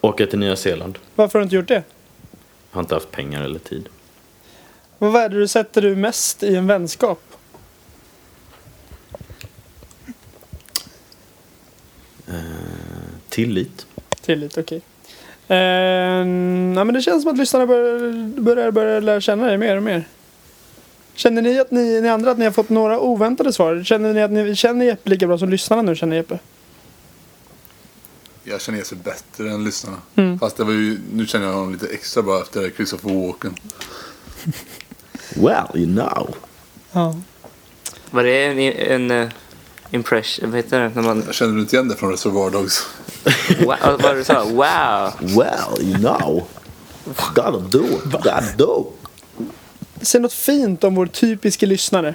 Åka till Nya Zeeland.
Varför har du inte gjort det?
Har inte haft pengar eller tid.
Vad är det du sätter du mest i en vänskap?
Tillit.
Tillit, okej. Eh, ja, men det känns som att lyssnarna börjar, börjar, börjar lära känna dig mer och mer. Känner ni, att ni, ni andra att ni har fått några oväntade svar? Känner ni att ni känner Jeppe lika bra som lyssnarna nu känner Jeppe?
Jag känner Jeppe bättre än lyssnarna. Fast det var ju, nu känner jag honom lite extra bra efter Christopher Walken.
Well, you know.
Ja.
Var det en, en eh, impression, vad heter det? När man,
Jag känner du inte igen det från Reservoir Dogs?
wow, vad var det du sa? Wow!
Well, you know. Gotta do it. Gotta do.
Säg något fint om vår typiska lyssnare.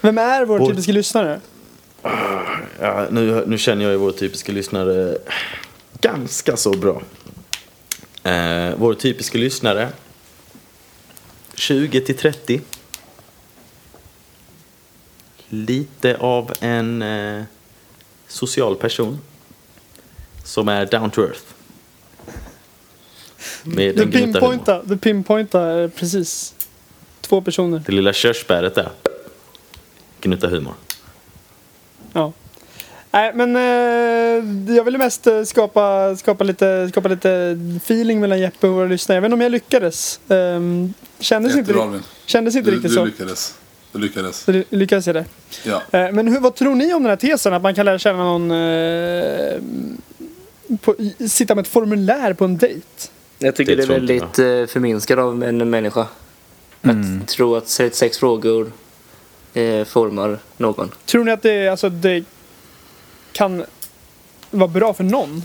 Vem är vår,
Vår-
typiska lyssnare?
Ja, nu, nu känner jag ju vår typiska lyssnare ganska så bra. Eh, vår typiska lyssnare 20 till 30. Lite av en eh, social person som är down to earth. Med
Du
en gnutta humor.
pinpointar, du pinpointar eh, precis. Två personer.
Det lilla körsbäret där. Gnutta humor.
Ja. Nej, men eh, jag ville mest eh, skapa, skapa, lite, skapa lite feeling mellan Jeppe och våra lyssnare. Jag vet inte om jag lyckades. Ehm, kändes, inte,
Jättebra
ri-
Albin.
kändes inte
Du,
riktigt
du
så.
lyckades. Du lyckades.
så. ly- Lyckades jag det?
Ja.
Eh, men hur, vad tror ni om den här tesen? Att man kan lära känna någon... Eh, på, i- sitta med ett formulär på en dejt?
Jag tycker
Det
det, är
tror inte
väldigt eh, förminskad av en människa. Att tro att 36 frågor eh, formar någon.
Tror ni att det, är- alltså, det kan vara bra för någon?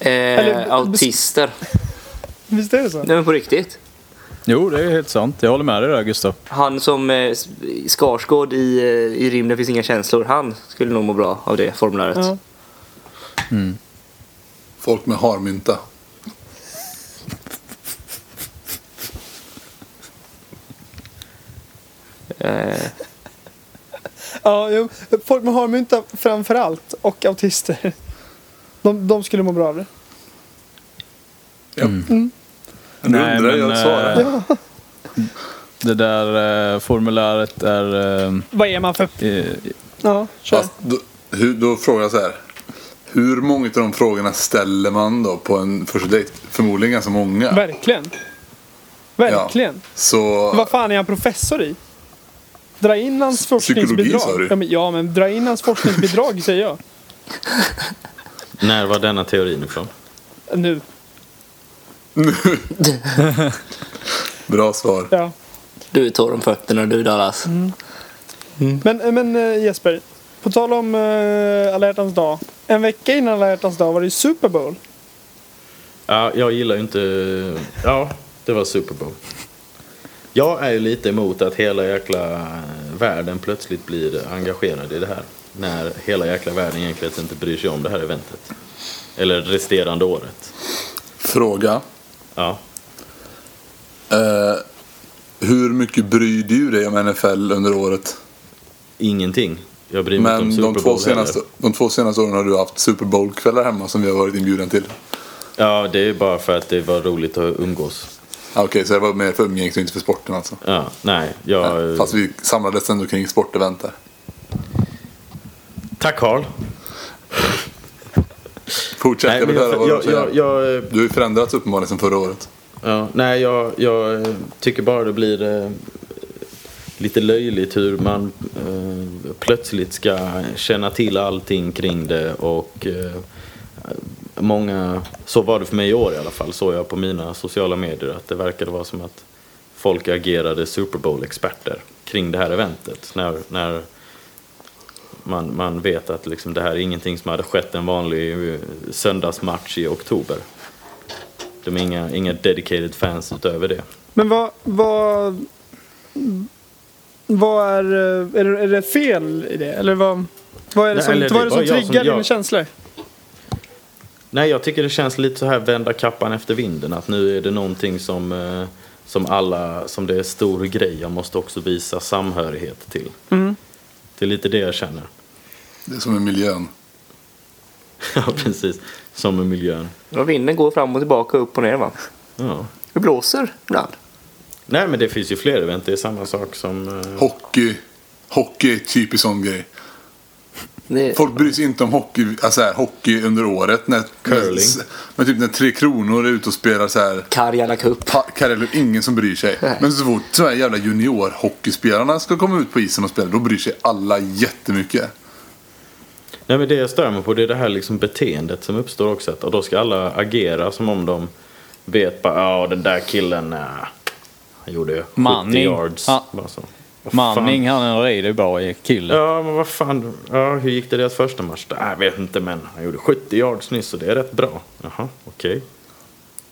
Eh,
Eller-
autister.
Visst är det så?
Nej men på riktigt.
Jo, det är helt sant. Jag håller med dig där Gustav.
Han som eh, s- Skarsgård i, eh, i rymden finns inga känslor. Han skulle nog må bra av det formuläret.
Ja.
Folk med harmynta.
Eh,
Ja, jo. Folk med harmynta framför allt och autister. De, de skulle må bra av det.
Nu
Mm. Nej,
undrar
men,
jag
eh,
svaret.
Det där eh, formuläret är... Eh,
Vad är man för...
eh,
Ja, kör.
Fast då, hur, då frågar jag så här. Hur många av de frågorna ställer man då på en första dejt? Förmodligen ganska många.
Verkligen. Verkligen.
Så
Vad fan är han professor i? dra in hans forskningsbidrag.
sa du?
Ja men, ja, men dra in hans forskningsbidrag säger jag.
När var denna teorin ifrån?
Nu.
Bra svar.
Ja.
Du är torr om fötterna du Dallas.
Men, men eh, Jesper, på tal om uh, alla hjärtans dag. En vecka innan alla hjärtans dag var det ju Super Bowl.
Ja, jag gillar ju inte... Ja, det var Super Bowl. Jag är ju lite emot att hela jäkla världen plötsligt blir engagerad i det här. När hela jäkla världen egentligen inte bryr sig om det här eventet. Eller resterande året.
Fråga.
Ja.
Eh, hur mycket bryr du dig om NFL under året?
Ingenting. Jag bryr mig inte om
Men
Super
de
Bowl
två,
heller.
senaste, de två senaste åren har du haft Super Bowl-kvällar hemma som vi har varit inbjuden till.
Ja, det är bara för att det var roligt att umgås.
Ah, Okej, så det var mer för umgänget och inte för sporten alltså.
Ja, eh, nej, jag...
Fast vi samlades ändå kring sportevent där.
Tack Carl.
Fortsätt,
Nej,
jag
men
vill höra
jag,
vad du
jag,
säger.
jag, jag,
Du har ju förändrats uppenbarligen sedan förra året.
Ja, nej, jag, jag eh, tycker bara det blir eh, lite löjligt hur man eh, plötsligt ska känna till allting kring det och eh, många, så var det för mig i år i alla fall, såg jag på mina sociala medier att det verkade vara som att folk agerade Super Bowl-experter kring det här eventet. När, när man, man vet att liksom det här är ingenting som hade skett en vanlig eh, söndagsmatch i oktober. De är inga, inga dedicated fans utöver det.
Men vad... Vad, vad är, eh, är, det, är det fel i det? Eller vad, vad är det
Nej,
som,
eller det
vad är det
var
som
jag som-
triggar dina
jag-
känslor?
Nej, jag tycker det känns lite så här vända kappan efter vinden. Att nu är det någonting som, eh, som alla, som det är stor grej. Jag måste också visa samhörighet till. Det är lite det jag känner.
Det är som en miljön.
Ja, precis. Som med miljön.
Och vinden går fram och tillbaka, upp och ner va?
Ja.
Det blåser ibland.
Nej, men det finns ju fler event. Det är samma sak som... eh,
Hockey. Hockey är typiskt sån grej.
Det,
Folk bryr sig inte om hockey, alltså här, hockey under året. När,
Curling.
Men typ när Tre Kronor är ute och spelar så här.
Karjala Cup.
pa- Karelund, ingen som bryr sig.
Nej.
Men så fort de här jävla juniorhockeyspelarna ska komma ut på isen och spela, då bryr sig alla jättemycket.
Nej, men det jag stör mig på det är det här liksom beteendet som uppstår också. Att, och då ska alla agera som om de vet bara, ja, den där killen, nej. Han gjorde 70
Manning.
yards.
Ja.
Bara så. Vad fan.
Manning, han är en redig bra kille.
Ja, men vad fan. Ja, hur gick det i deras första match? Nej, Jag vet inte, men han gjorde 70 yards nyss och det är rätt bra. Jaha, okej.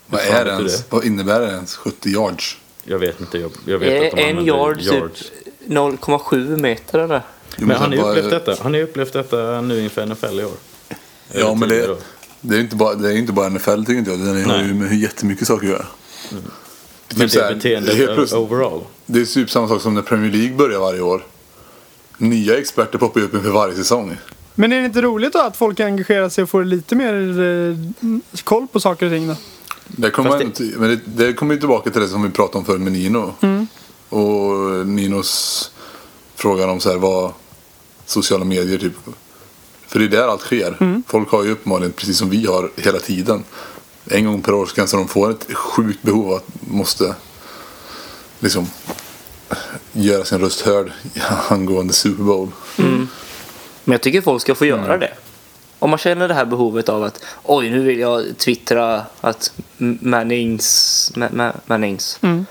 Vad
fan
är det
vet du
ens? Vad innebär det ens? 70 yards?
Jag vet inte. Jag, jag vet
Är
att
det
de
en
använder
yard typ 0,7 meter eller?
Jo,
Men han har ju
sen bara-
upplevt detta. Han har ju upplevt detta nu inför NFL i år.
Ja, men
tidigare
det,
år.
det är ju inte bara, det är inte bara NFL tycker inte jag. Den har
Nej.
ju med jättemycket saker att göra. Det
Men
är typ så
det
här,
beteendet oh.
helt plötsligt-
overall.
Det är typ samma sak som när Premier League börjar varje år. Nya experter poppar ju upp inför varje säsong.
Men är det inte roligt då att folk engagerar sig och får lite mer eh, koll på saker och ting då?
Det kommer,
Fast det-
ändå till- men det, det kommer ju tillbaka till det som vi pratade om förut med Nino.
Mm.
Och Ninos frågan om så här, vad sociala medier typ. För det är där allt sker.
Mm.
Folk har ju uppenbarligen, precis som vi har hela tiden. En gång per år så kanske de får ett sjukt behov av att måste liksom göra sin röst hörd angående Super Bowl.
Men jag tycker folk ska få göra det. Om man känner det här behovet av att oj nu vill jag twittra att M- Mannings, Ma- Ma- Mannings
Mm.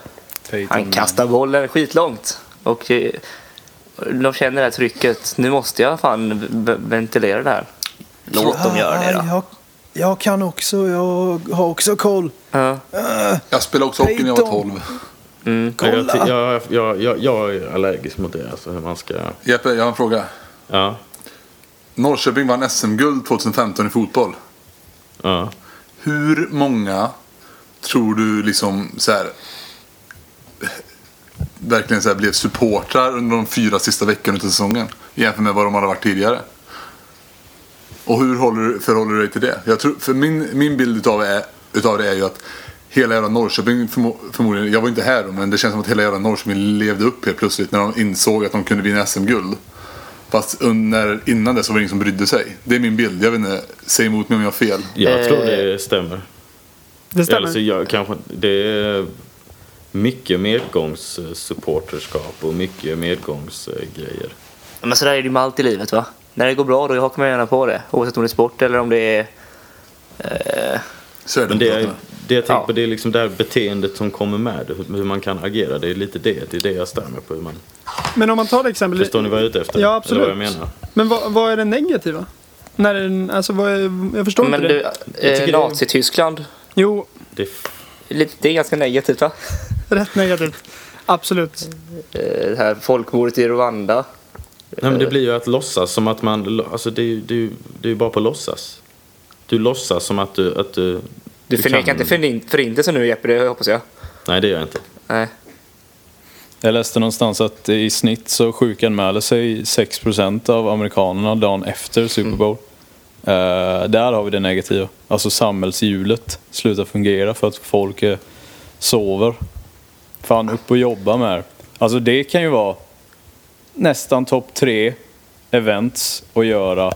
han kastar bollen skitlångt. Och det, de känner det här trycket. Nu måste jag fan v- ventilera det här. Låt dem göra det då.
Jag, jag kan också, jag har också koll.
Ja.
Jag spelade också hockey när jag var 12.
Jag,
Kolla!
jag, jag, jag, jag är allergisk mot det. Alltså, hur man ska...
Jeppe, jag har en fråga.
Ja,
Norrköping vann SM-guld 2015 i fotboll.
ja.
Hur många tror du liksom så här verkligen så här blev supportrar under de fyra sista veckorna av säsongen jämfört med vad de hade varit tidigare? Och hur håller, du- förhåller du dig till det? Jag tror, för min, min bild utav, är, utav det är ju att hela jävla Norrköping förmo, förmodligen, jag var inte här då, men det känns som att hela jävla Norrköping levde upp helt plötsligt när de insåg att de kunde vinna SM-guld. Fast under, innan det så var det ingen som brydde sig. Det är min bild. Jag vet inte, säg emot mig om jag har fel.
Jag tror
Eh.
det stämmer. Alltså,
Det stämmer.
Eller så jag kanske... Det är, mycket medgångssupporterskap och mycket medgångsgrejer.
Men sådär är det ju med allt i livet va? När det går bra då hakar man gärna på det. Oavsett om det är sport eller om det är... Eh,
Men det, är-
Sverigedemokraterna.
det jag tänker
Ja.
på det är liksom det här beteendet som kommer med det, hur hur man kan agera. Det är lite det, det är det jag stör mig på. Hur man,
Men om man tar det exempel.
förstår ni vad jag är ute efter?
Ja,
Eller
absolut.
Vad jag menar?
Men vad, vad är det negativa? När är den, alltså vad är, jag förstår
men
inte
du,
det.
eh,
det-
Nazityskland.
Jo,
Det är
Lite, det är ganska negativt va?
rätt negativt. Absolut.
Eh, det här folkmordet i Rwanda.
Nej men det blir ju att låtsas som att man, alltså det är ju det är, ju- det är ju bara på låtsas. Du låtsas som att du, att du...
Du förnekar
kan-
inte förin- förintelsen nu Jeppe, det hoppas jag.
Nej det gör jag inte.
Nej.
Jag läste någonstans att i snitt så sjukanmäler sig 6% av amerikanerna dagen efter Super Bowl. Eh, där har vi det negativa. Alltså samhällshjulet slutar fungera för att folk eh, sover. Fan, upp och jobba med det. Alltså det kan ju vara nästan topp tre events att göra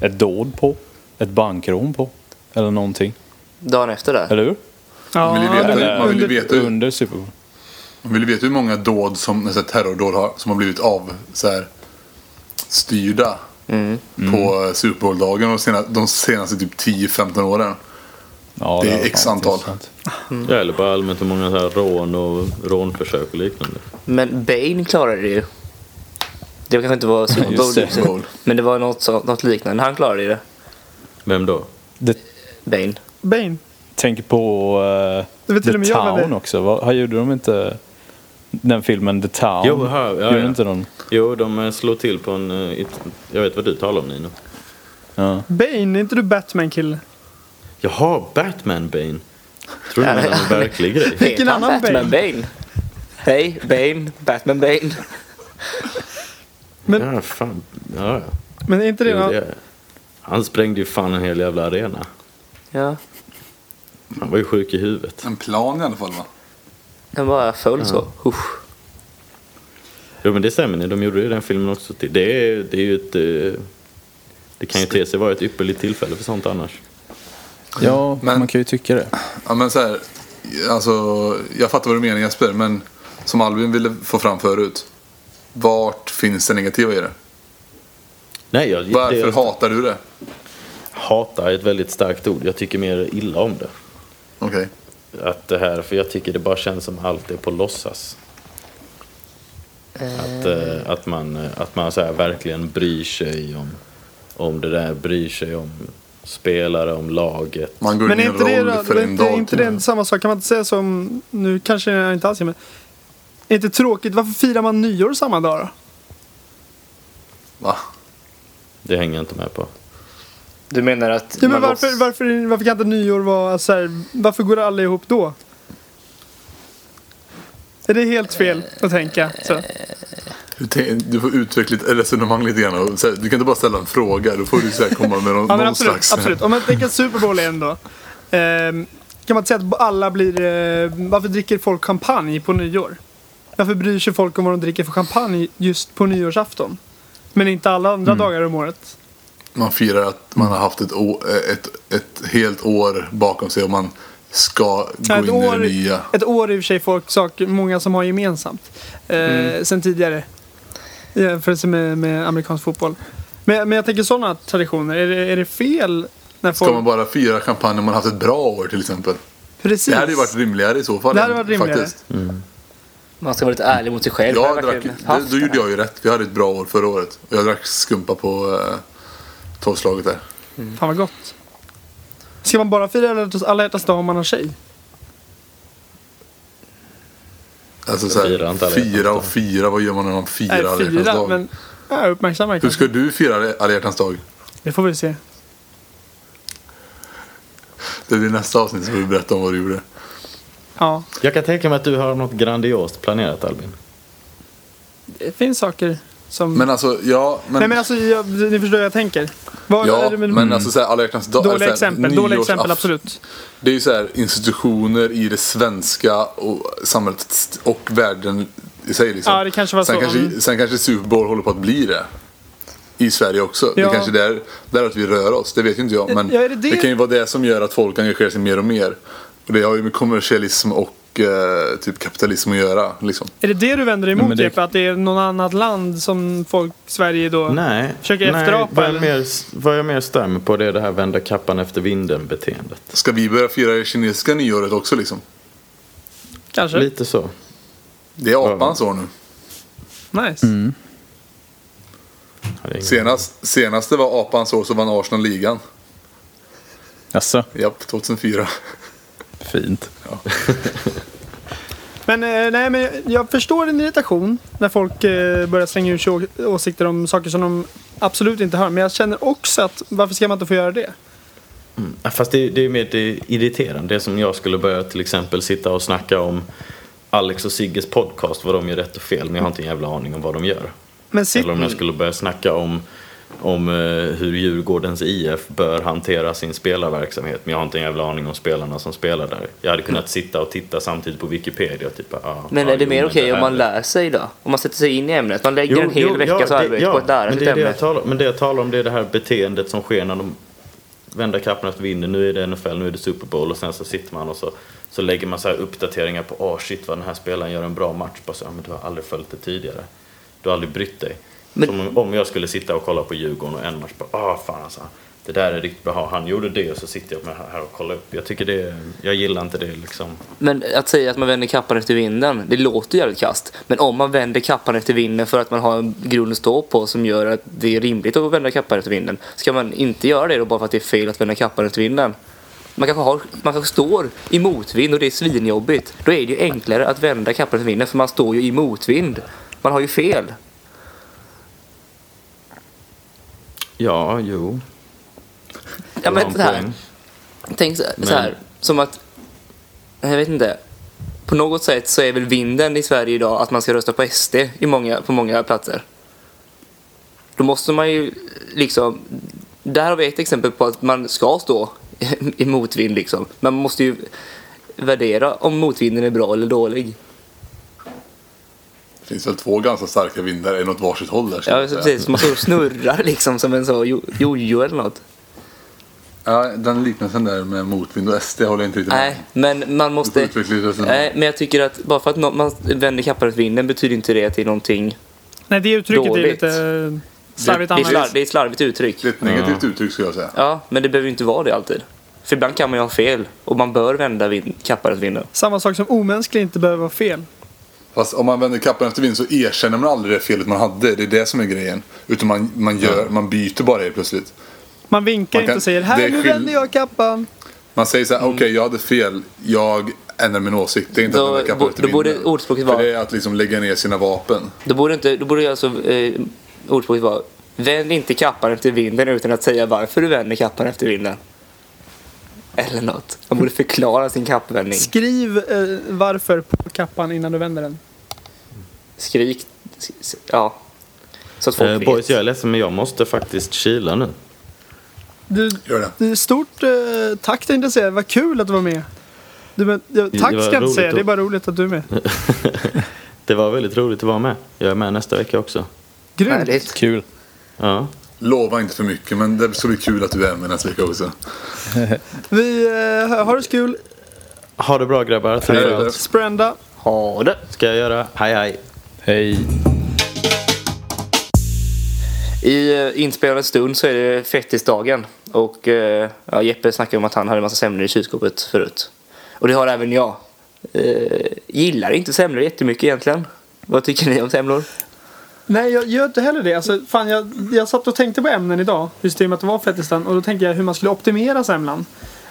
ett dåd på, ett bankrån på eller någonting.
Dagen efter där.
Eller hur?
Ja,
Man vill ju veta,
du-
man vill ju
under-
veta, hur-
Under Super Bowl.
man vill ju veta hur många dåd som, så här, terrordåd har, som har blivit av så här, styrda
Mm.
på eh, Super Bowl-dagen de senaste, de senaste typ 10-15 åren.
Ja,
Det är
var
x
fan
antal.
intressant.
Mm.
Ja, eller bara allmänt hur många så här rån och rånförsök och liknande.
Men Bane klarade det ju. Det kanske inte var Super Bowl,
Just det.
i och för sig. men det var något, så- något liknande. Han klarade det.
Vem då?
Det
Bane.
Bane.
tänker på eh,
Det vet till och
The
med jag vem det
Town
är.
också. Vad, här gjorde de inte den filmen The Town?
Jo, här, ja,
gjorde
ja.
inte de?
Jo, de eh, slår till på en... eh, it- Jag vet vad du talar om Nino.
Ja.
Bane, är inte du Batman-kille?
Jaha, Batman Bane. Tror du
Ja,
det är en
men-
verklig grej?
Heter han
annan
Batman Bane? Hej, Bane. Batman Bane.
Men,
Ja, fan. Ja, ja.
men är inte det,
Jo,
någon-
det är- Han sprängde ju fan en hel jävla arena.
Ja,
Han var ju sjuk i huvudet.
En plan i alla fall va?
den bara föll så. Usch.
Jo men det stämmer, ni. de gjorde ju den filmen också till. Det är, det är ju ett... eh, Det kan ju te sig vara ett ypperligt tillfälle för sånt annars.
ja,
Men-
man kan ju tycka det.
Ja men så här, alltså, jag fattar vad du menar Jesper, men som Albin ville få fram förut. Vart finns det negativa i det?
Nej, jag, det,
Varför
jag
hatar du det?
hatar är ett väldigt starkt ord. Jag tycker mer illa om det.
Okej.
Att det här, för jag tycker det bara känns som allt är på låtsas. Att, eh, att man, eh, att man så här verkligen bryr sig om, om det där, bryr sig om spelare, om laget.
Man går
men
in i
är
en
inte det,
roll för
är
en
inte,
dag.
är inte det samma sak? Kan man inte säga som, nu kanske jag inte alls är med. Är inte tråkigt, varför firar man nyår samma dag då?
Va?
Det hänger jag inte med på.
Du menar att...
Ja, men
man
varför,
låts-
varför, varför kan inte nyår vara så här, varför går alla ihop då? Är det helt fel att tänka så?
Du, te- du får utveckla ditt resonemang lite grann. Och, så här, du kan inte bara ställa en fråga. Då får du så här, komma med någon,
Ja, men
någon
absolut,
slags...
absolut. Om man tänker att Super Bowl är en då. ehm, kan man inte säga att alla blir... Eh, varför dricker folk champagne på nyår? Varför bryr sig folk om vad de dricker för champagne just på nyårsafton? Men inte alla andra
Mm.
dagar om året.
Man firar att man har haft ett, å, ett, ett helt år bakom sig och man ska gå in
ett,
i det
år,
nya.
ett år är i och för sig folk, saker, många som har gemensamt. Eh,
Mm.
Sen tidigare. I jämförelse med, med amerikansk fotboll. Men, men jag tänker sådana traditioner. Är det, är det fel när folk...
Ska man bara fira champagne om man har haft ett bra år till exempel?
Precis.
Det hade ju varit rimligare i så fall.
Det hade varit rimligare.
Faktiskt.
Man ska vara lite ärlig mot sig själv. Har
Jag
jag
drack,
verkligen
det,
haft
då
det?
gjorde jag ju rätt. Vi hade ett bra år förra året. Och jag drack skumpa på eh, tolvslaget där.
Fan vad gott. Ska man bara fira alla hjärtans- alla hjärtans dag om man har tjej?
Alltså så här,
Fira inte alla hjärtans
fira och fira. Vad gör man när man firar alla
Nej,
hjärtans
fyra,
dag?
men ja, uppmärksamma
Hur
kanske.
ska du fira alla hjärtans dag?
Det får vi se.
Det blir nästa avsnitt så får vi berätta om vad du gjorde.
Ja,
Jag kan tänka mig att du har något grandiost planerat Albin.
det finns saker som...
Men alltså, ja. Men,
Nej men alltså, jag, ni förstår hur jag tänker. Vad,
ja,
eller,
men,
men,
alltså så här, alla hjärtans dag.
dåliga
eller så här,
exempel, dåliga exempel,
nyårsaft-
absolut.
Det är ju så här institutioner i det svenska och samhället och världen i sig liksom.
Ja, det kanske var
sen
så,
Kanske,
mm.
sen kanske Super Bowl håller på att bli det. I Sverige också.
Ja.
Det kanske är där, däråt vi rör oss. Det vet ju inte jag. Men
Ja, är det det?
kan ju vara det som gör att folk engagerar sig mer och mer. Och det har ju med kommersialism och mycket eh, typ kapitalism att göra. Liksom.
Är det det du vänder dig
Nej,
emot
men det-
Jeppe? Att det är någon annat land som folk, Sverige då...
Nej,
Försöker
nej
efterapa,
vad, jag
eller?
mer, vad jag mer stämmer på det är det här vända kappan efter vinden-beteendet.
Ska vi börja fira det kinesiska nyåret också liksom?
Kanske?
Lite så.
Det är apans år nu.
Nice.
Ja, det är ingen-
Senast, senast det var apans år så vann Arsenal ligan.
Jaså,
Japp, 2004.
fint.
Men, eh, nej, men jag förstår din irritation när folk eh, börjar slänga ur sig å- åsikter om saker som de absolut inte hör. Men jag känner också att varför ska man inte få göra det?
Ja, Fast det, det är mer det är irriterande. Det som jag skulle börja till exempel sitta och snacka om Alex och Sigges podcast, vad de gör rätt och fel. Men jag har inte en jävla aning om vad de gör.
Men sitt,
Eller om jag skulle börja snacka om, om eh, hur Djurgårdens IF bör hantera sin spelarverksamhet. Men jag har inte en jävla aning om spelarna som spelar där. Jag hade kunnat sitta och titta samtidigt på Wikipedia. Typ, ah,
Men
ah,
är det
jo,
mer
men
okej
här
om man
är-
lär sig då? Om man sätter sig in i ämnet? Man lägger en hel veckas
ja, det-
arbete på att lära
men
sig
det
ett
är det
ämne.
jag talar, Men det jag talar om det är det här beteendet som sker när de vänder kappan efter vinden. Nu är det NFL, nu är det Super Bowl och sen så sitter man och så, så lägger man så här uppdateringar på ah shit vad den här spelaren gör en bra match. Bara så, "Ja, men du har aldrig följt det tidigare. Du har aldrig brytt dig.
Men-
Som om- om jag skulle sitta och kolla på Djurgården och en match bara ah fan alltså. Det där är riktigt bra, han gjorde det och så sitter jag med det här och kollar upp. Jag tycker det, är- jag gillar inte det liksom.
Men att säga att man vänder kappan efter vinden, det låter jävligt kast. Men om man vänder kappan efter vinden för att man har en grund att stå på som gör att det är rimligt att vända kappan efter vinden. Ska man inte göra det då bara för att det är fel att vända kappan efter vinden? Man kanske, har, man kanske står i motvind och det är svinjobbigt. Då är det ju enklare att vända kappan efter vinden för man står ju i motvind. Man har ju fel.
Ja, jo.
Ja,
Du har en
men så här,
poäng.
Tänk så, så här, som att, jag vet inte. På något sätt så är väl vinden i Sverige idag att man ska rösta på SD i många, på många platser. Då måste man ju liksom, där har vi ett exempel på att man ska stå i motvind liksom. Man måste ju värdera om motvinden är bra eller dålig.
Det finns väl två ganska starka vindar, en åt varsitt håll där. skulle
Ja,
jag säga.
precis. Man står och snurrar liksom som en så jo- jojo eller något.
Ja, den liknelsen där med motvind och SD håller jag inte riktigt
Nej,
med
men man
Du får
måste...
utveckla ditt resonemang.
Nej, men jag tycker att bara för att nå- man vänder kappan efter vinden betyder inte det att det är någonting...
nej, det uttrycket är
Dåligt.
lite slarvigt
Det är, slarv,
använt.
det är ett slarvigt uttryck.
Det är ett negativt uttryck skulle jag säga.
Ja, men det behöver ju inte vara det alltid. För ibland kan man ju ha fel och man bör vända vind, kappan efter vinden.
Samma sak som omänsklig inte behöver vara fel.
Fast om man vänder kappan efter vind så erkänner man aldrig det felet man hade. Det är det som är grejen. Utan man, man, gör, man byter bara helt plötsligt.
Man vinkar
Man
inte
kan-
och säger här
det är
nu
skill-
vänder jag kappan.
Man säger så här, okej jag hade fel. Jag ändrar min åsikt. Det är inte
Mm. Då-
att vända kappan
bo-
efter
då borde
vinden.
ordspråket vara-
För det är att liksom lägga ner sina vapen.
Då borde inte, då borde alltså eh, ordspråket vara Vänd inte kappan efter vinden utan att säga varför du vänder kappan efter vinden. Eller något. Man borde förklara sin kappvändning.
Skriv eh, varför på kappan innan du vänder den.
Skrik. s- s- Ja. Så att folk
Eh,
vet.
boys, jag är ledsen men jag måste faktiskt kila nu.
Du,
Gör det.
du, stort eh, tack tänkte jag säga. Vad kul att du var med. Du, men, ja,
Det
tack
var
ska jag inte
roligt
säga,
att-
det är bara roligt att du är med.
Det var väldigt roligt att vara med. Jag är med nästa vecka också.
Grymt.
Härligt.
Kul.
Ja.
Lova inte för mycket men det ska bli kul att du är med nästa vecka också.
Vi eh, har det så kul.
Ha det bra grabbar. Tack
Hej
för
då.
allt.
Sprända.
Ha det.
Ska jag göra? Hej hej.
Hej.
I eh, inspelad stund så är det fettisdagen och eh, ja, Jeppe snackade om att han hade en massa semlor i kylskåpet förut. Och det har även jag. Eh, gillar inte semlor jättemycket egentligen. Vad tycker ni om semlor?
Nej, jag gör inte heller det. Alltså, fan, jag, jag satt och tänkte på ämnen idag, just i och med att det var fettisdagen. Och då tänkte jag hur man skulle optimera semlan.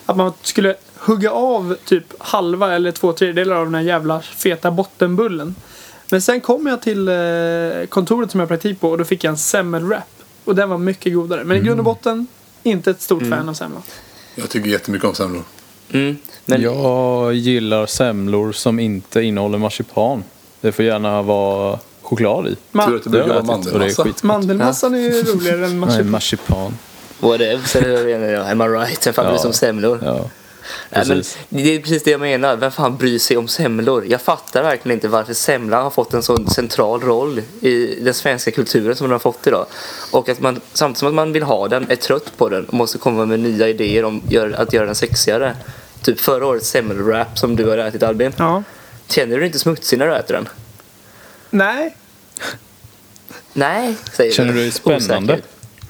Att man skulle hugga av typ halva eller två tredjedelar av den här jävla feta bottenbullen. Men sen kom jag till eh, kontoret som jag har praktik på och då fick jag en semmelwrap. Och den var mycket godare. Men i grund och botten, inte ett stort fan av semla.
Jag tycker jättemycket om semlor.
Mm. Men
Jag gillar semlor som inte innehåller marsipan. Det får gärna vara choklad i.
Tur
Man,
att det
Det har
brukar vara
jag ätit och det är
mandelmassa.
skitgott.
mandelmassan är ju roligare än
Nej,
marsipan.
marsipan.
whatevs, eller vad menar jag? am I right? Vem fan bryr sig om semlor?
Ja,
Nej, men
precis.
det är precis det jag menar. Vem fan bryr sig om semlor? Jag fattar verkligen inte varför semlan har fått en sån central roll i den svenska kulturen som den har fått idag. Och att man samtidigt som att man vill ha den, är trött på den och måste komma med nya idéer om gör, att göra den sexigare. typ förra årets semmelwrap som du har ätit Albin.
Ja.
Känner du dig inte smutsig när du äter den?
Nej,
Nej, säger
Känner du dig spännande?
Osäker.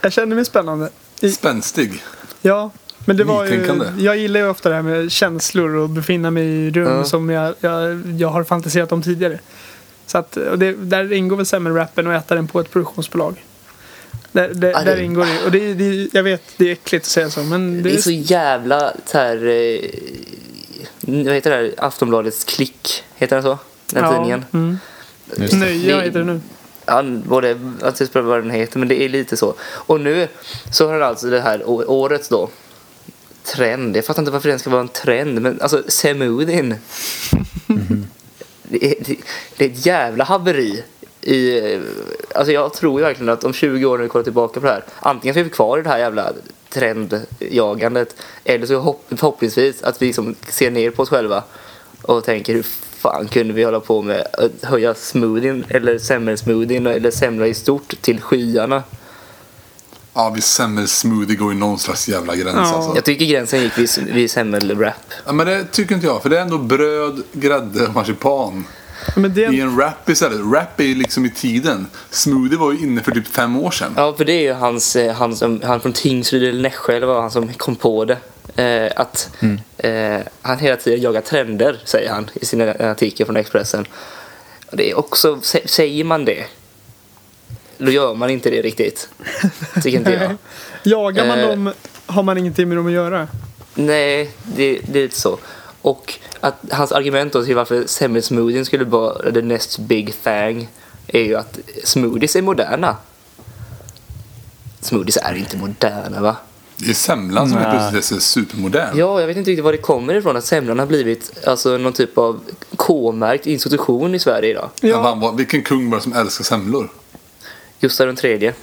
jag känner mig spännande. I,
Spänstig.
ja, men det var ju,
Nytänkande.
jag gillar ju ofta det här med känslor och befinna mig i rum
Ja.
som jag, jag, jag har fantiserat om tidigare. Så att, och det, där ingår väl semmelwrappen och äta den på ett produktionsbolag. Där, där,
Ja, Ah, det-
där ingår det. Och det, det, jag vet, det är äckligt att säga så, men det,
Det är så jävla så här... Eh, vad heter det här? Aftonbladets klick, heter den så? Den tidningen.
Mm.
Just det.
Nöja
Det-
heter det nu.
Ja, både, jag tycker vad den heter, men det är lite så. Och nu så har alltså det här å- årets då trend. Jag fattar inte varför den ska vara en trend, men alltså smoothien. Det, är, det, det är ett jävla haveri. I, eh, alltså jag tror ju verkligen att om 20 år när vi kollar tillbaka på det här, antingen så är vi kvar i det här jävla trendjagandet, eller så hopp, förhoppningsvis att vi liksom ser ner på oss själva och tänker hur fan kunde vi hålla på med att höja smoothien eller semmelsmoothien eller semla i stort till skyarna.
Ja, vi semmelsmoothie går ju någon slags jävla gräns
Ja.
alltså.
Jag tycker gränsen gick vid, vid semmelwrap.
Ja, men det tycker inte jag. För det är ändå bröd, grädde och marsipan.
Men det,
I en wrap istället. Wrap är ju liksom i tiden. Smoothie var ju inne för typ fem år sedan.
Ja, för det är ju hans, eh, han, som, han från Tingsryd eller Nässjö, eller vad han som kom på det. Eh, att eh, han hela tiden jagar trender, säger han i sin artikel från Expressen. Och det är också, sä- säger man det, då gör man inte det riktigt. Tycker inte jag.
jagar man
Eh.
dem har man ingenting med dem att göra.
Nej, det, det är lite så. Och att hans argument då till varför semmelsmoothien skulle vara the next big thing är ju att smoothies är moderna. Smoothies är inte moderna va?
Det är semlan som
Nej.
helt plötsligt är supermodern.
Ja, jag vet inte riktigt var det kommer ifrån att semlan har blivit alltså, någon typ av K-märkt institution i Sverige idag.
Ja. Fan, vad, vilken kung var det som älskar semlor?
Gustav den tredje.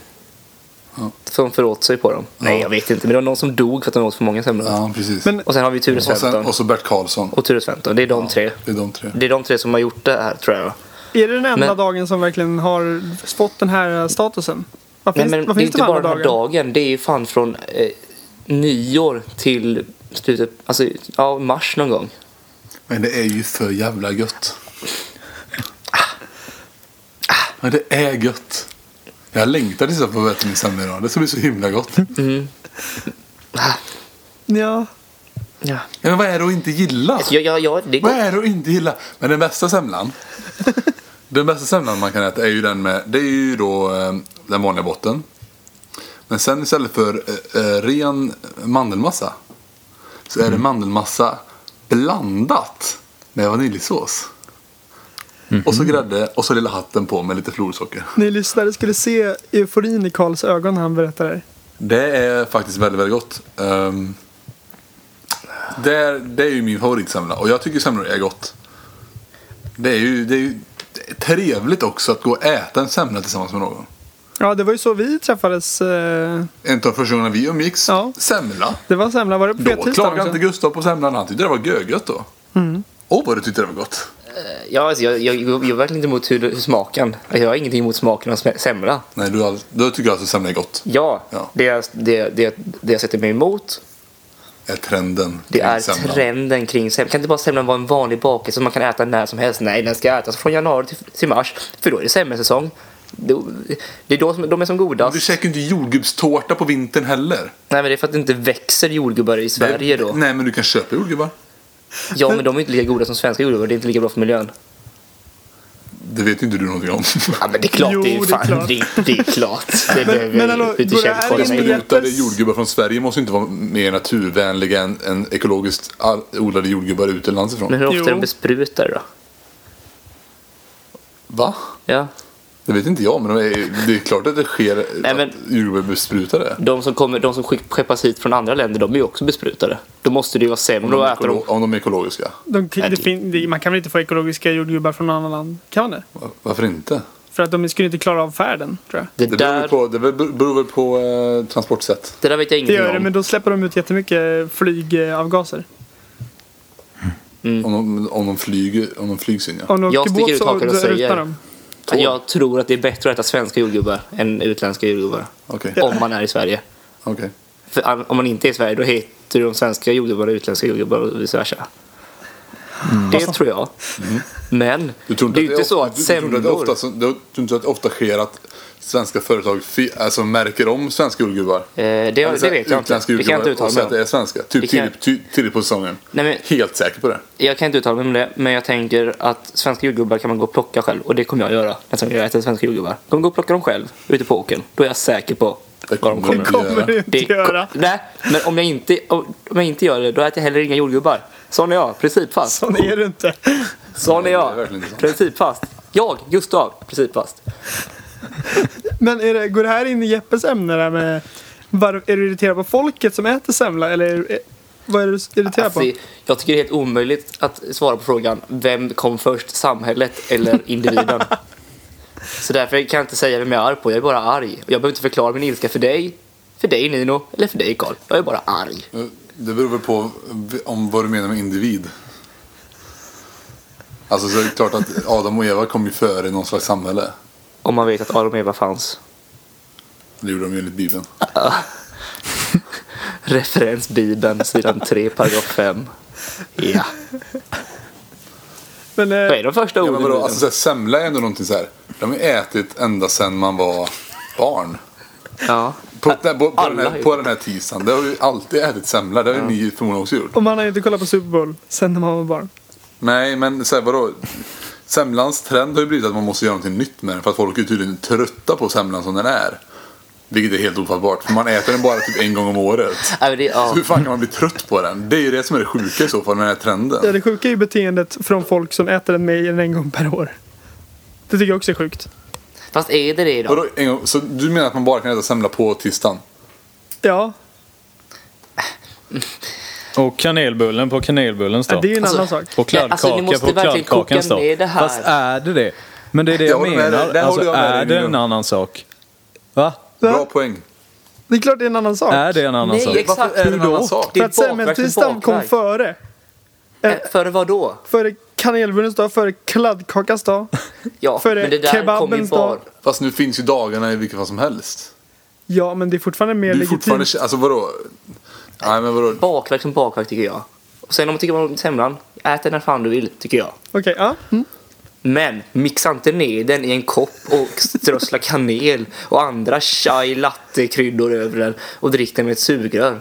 Ja.
Som föråt sig på dem. Nej, jag vet inte. Men det var någon som dog för att de åt för många semlor.
Ja, precis.
Men-
Och sen har vi Ture
och, sen,
Sventon.
och så Bert Karlsson.
Och Ture Sventon. Det är de tre.
Det är de tre.
Det är de tre som har gjort det här tror jag.
Är det den enda
Men-
dagen som verkligen har fått den här statusen? Vad
Nej,
finns,
men
vad
det är
finns
inte
det för
bara
andra
den här
dagar?
dagen. Det är ju fan från eh, nyår till slutet, alltså ja, mars någon gång.
Men det är ju för jävla gött. Men det är gött. Jag längtar tills jag får äta min semla idag. Det ska bli så himla gott.
Ja.
Ja.
Ja, Men vad är det att inte gilla?
Alltså, ja, ja, ja, det är
Vad
gott.
är det att inte gilla? Men den bästa semlan. den bästa semlan man kan äta är ju den med. Det är ju då eh, den vanliga botten. Men sen istället för eh, eh, ren mandelmassa. Så är det
Mm.
mandelmassa blandat med vaniljsås.
Mhm.
Och så grädde och så lilla hatten på med lite florsocker.
Ni lyssnare skulle se euforin i Karls ögon när han berättar det här.
Det är faktiskt väldigt, väldigt gott. Ehm, det, är, det är ju min favoritsemla och jag tycker semlor är gott. Det är ju, det är ju trevligt också att gå och äta en semla tillsammans med någon.
Ja, det var ju så vi träffades. eh,
En av första gångerna vi umgicks,
Ja.
semla.
Det var semla. Var det på
Då
fettisdagen
klagade inte
också? Mm.
Gustav på semlan, han tyckte det var görgött då. Åh vad du tyckte det var gott.
Ja, alltså, jag, jag, jag är verkligen inte emot hur, hur smaken. alltså, Jag har ingenting emot smaken av sme- semla.
Nej, du, all- då tycker jag alltså semla är gott.
Ja,
Ja.
Det, jag- det, det, det jag sätter mig emot
Är trenden.
det
kring
är
semlan.
trenden kring semlan. Kan inte bara semlan vara en vanlig bakelse som man kan äta när som helst? Nej, den ska ätas från januari till, till mars, för då är det semmelsäsong. Då- Det är då som, de är som godast.
Du käkar ju inte jordgubbstårta på vintern heller.
Nej men det är för att det inte växer jordgubbar i Sverige då.
Nej, men du kan köpa jordgubbar.
Ja men de är inte lika goda som svenska jordgubbar, det är inte lika bra för miljön.
Det vet ju inte du någonting om.
Ja men det är klart,
Jo,
det är ju
det är
fan,
klart.
det är, det är klart. Det behöver
men hallå,
inte
går det här
källkolla
in
mig.
i-
Sprutade jordgubbar från Sverige måste inte vara mer naturvänliga än, än ekologiskt all- odlade jordgubbar utomlands ifrån.
Men hur ofta
Jo.
är de besprutade då?
Va?
Ja.
Det vet inte jag, men de är, det är klart att det sker
Nej, men-
att jordgubbar är besprutade.
De som, kommer, de som skick- skeppas hit från andra länder, de är ju också besprutade. Då måste det ju vara
Om
sämre
de, är
att äta dem.
ekolo- om de är ekologiska.
De,
Nej, typ.
det
det-
fin, det, man kan väl inte få ekologiska jordgubbar från någon annan land? Kan man det?
Va- Varför inte?
För att de skulle inte klara av färden, tror jag.
Det
Det beror väl
där,
på, det beror beror väl på eh, transportsätt.
det där vet jag
Det gör
ingenting
det,
om.
men då släpper de ut jättemycket flygavgaser.
Mm.
Om, de, om, de flyger, om de flygs in, ja.
Om de
Jag
åker
sticker
båt
ut
så
hakan och
ruttnar
säger-
de.
Jag tror att det är bättre att äta svenska jordgubbar än utländska jordgubbar.
Okej.
Om man är i Sverige.
Okej.
För an- om man inte är i Sverige, då, he- ut ur de svenska jordgubbarna och utländska jordgubbar och vice versa. Det tror jag. Men
Mm. Du tror
det
inte
är ju inte så
of-
att
du- du tror inte att det
semlor...
ofta, så- du tror inte att det ofta sker att svenska företag fi, alltså märker om svenska jordgubbar?
Eh, det,
Eller
det
så här,
vet jag inte.
Alltså, utländska
Det kan jag inte
jordgubbar
uttala
och säga
mig
att det
om.
är svenska.
Det
Typ
kan jag-
tidigt, ty- tidigt på säsongen.
Nej, men-
Helt säker på det.
Jag kan inte uttala mig om det, men jag tänker att svenska jordgubbar kan man gå och plocka själv. Och det kommer jag göra nästa gång jag äter svenska jordgubbar. Jag kommer gå och plocka dem själv ute på åkern. Då är jag säker på
Det
var de
kommer
kommer
du
Det kommer du inte
Det
göra.
Nej, men om jag, inte, om jag inte gör det, då äter jag heller inga jordgubbar. Sån är jag, principfast.
Sån är du inte.
Sån är
Det är
jag,
verkligen inte sant.
principfast. Jag, Gustav, principfast.
Men är det, går det här in i Jeppes ämne där med... Var, är du irriterad på folket som äter semla eller är, är- vad är du irriterad
Alltså,
på?
jag tycker det är helt omöjligt att svara på frågan vem kom först, samhället eller individen? Så därför kan jag inte säga vem jag är arg på, jag är bara arg. Och jag behöver inte förklara min ilska för dig, för dig Nino, eller för dig Karl. Jag är bara arg.
Det beror väl på om vad du menar med individ. Alltså så är det klart att Adam och Eva kom ju före i någon slags samhälle.
Om man vet att Adam och Eva fanns.
Det gjorde de ju enligt Bibeln.
Referens Bibeln, sidan 3, paragraf 5. Ja.
Men,
Vad
eh,
är de första
Ja,
orden?
men
i
vadå,
Bibeln?
alltså, så här, semla är ändå någonting så här. De har ju ätit ända sedan man var barn.
ja.
På, på, på, den,
Alla
här,
ju.
på den här tisdagen. Det har vi alltid ätit semla. Det har ju ni förmodligen också gjort.
och man har ju inte kollat på Super Bowl sen när man var barn.
Nej, men så här, vadå? Semlans trend har ju blivit att man måste göra någonting nytt med den. För att folk är tydligen trötta på semlan som den är. Vilket är helt ofattbart. För man äter den bara typ en gång om året.
Ja, men det,
Så
ja.
hur fan kan man bli trött på den? Det är ju det som är det sjuka i så fall, den här
Ja,
trenden.
det sjuka är ju beteendet från folk som äter den mer än en gång per år. Det tycker jag också är sjukt.
Fast är det det idag?
Vadå, en gång, så du menar att man bara kan äta semla på tisdagen?
Ja,
Och kanelbullen på kanelbullens
det
dag.
är ju en
Alltså,
annan sak.
Och
Nej, alltså,
kladdkaka
ni måste
på
verkligen koka
kladdkakans dag.
ner det här.
Fast är det det? Men det är det
Jag
jag,
håller med dig.
menar.
Där
alltså,
håller jag med
är
dig,
det en
Nino.
annan sak? Va?
Bra
Va?
poäng.
Det är klart det är en annan sak.
Är det en annan
Nej,
sak?
exakt.
alltså- Varför är det en
Hur då?
annan sak?
Det
För
är
att semmeltisdagen
bakverk, det är
kom
bakverk.
före.
Eh, Före vad då?
Före kanelbullens dag, före kladdkakans dag.
Ja,
Före
men det där kom ju
kebabens
för.
dag.
Fast nu finns ju dagarna i vilket fall som helst.
Ja, men det är fortfarande mer
Du är
legitimt.
fortfarande... Alltså vadå? Nej men vadå?
Bakverk som bakverk tycker jag. Och sen om man tycker om semlan, ät den när fan du vill, tycker jag.
Okej, ja. Mm.
Men mixa inte ner den i en kopp och strössla kanel och andra chai latte-kryddor över den och drick den med ett sugrör.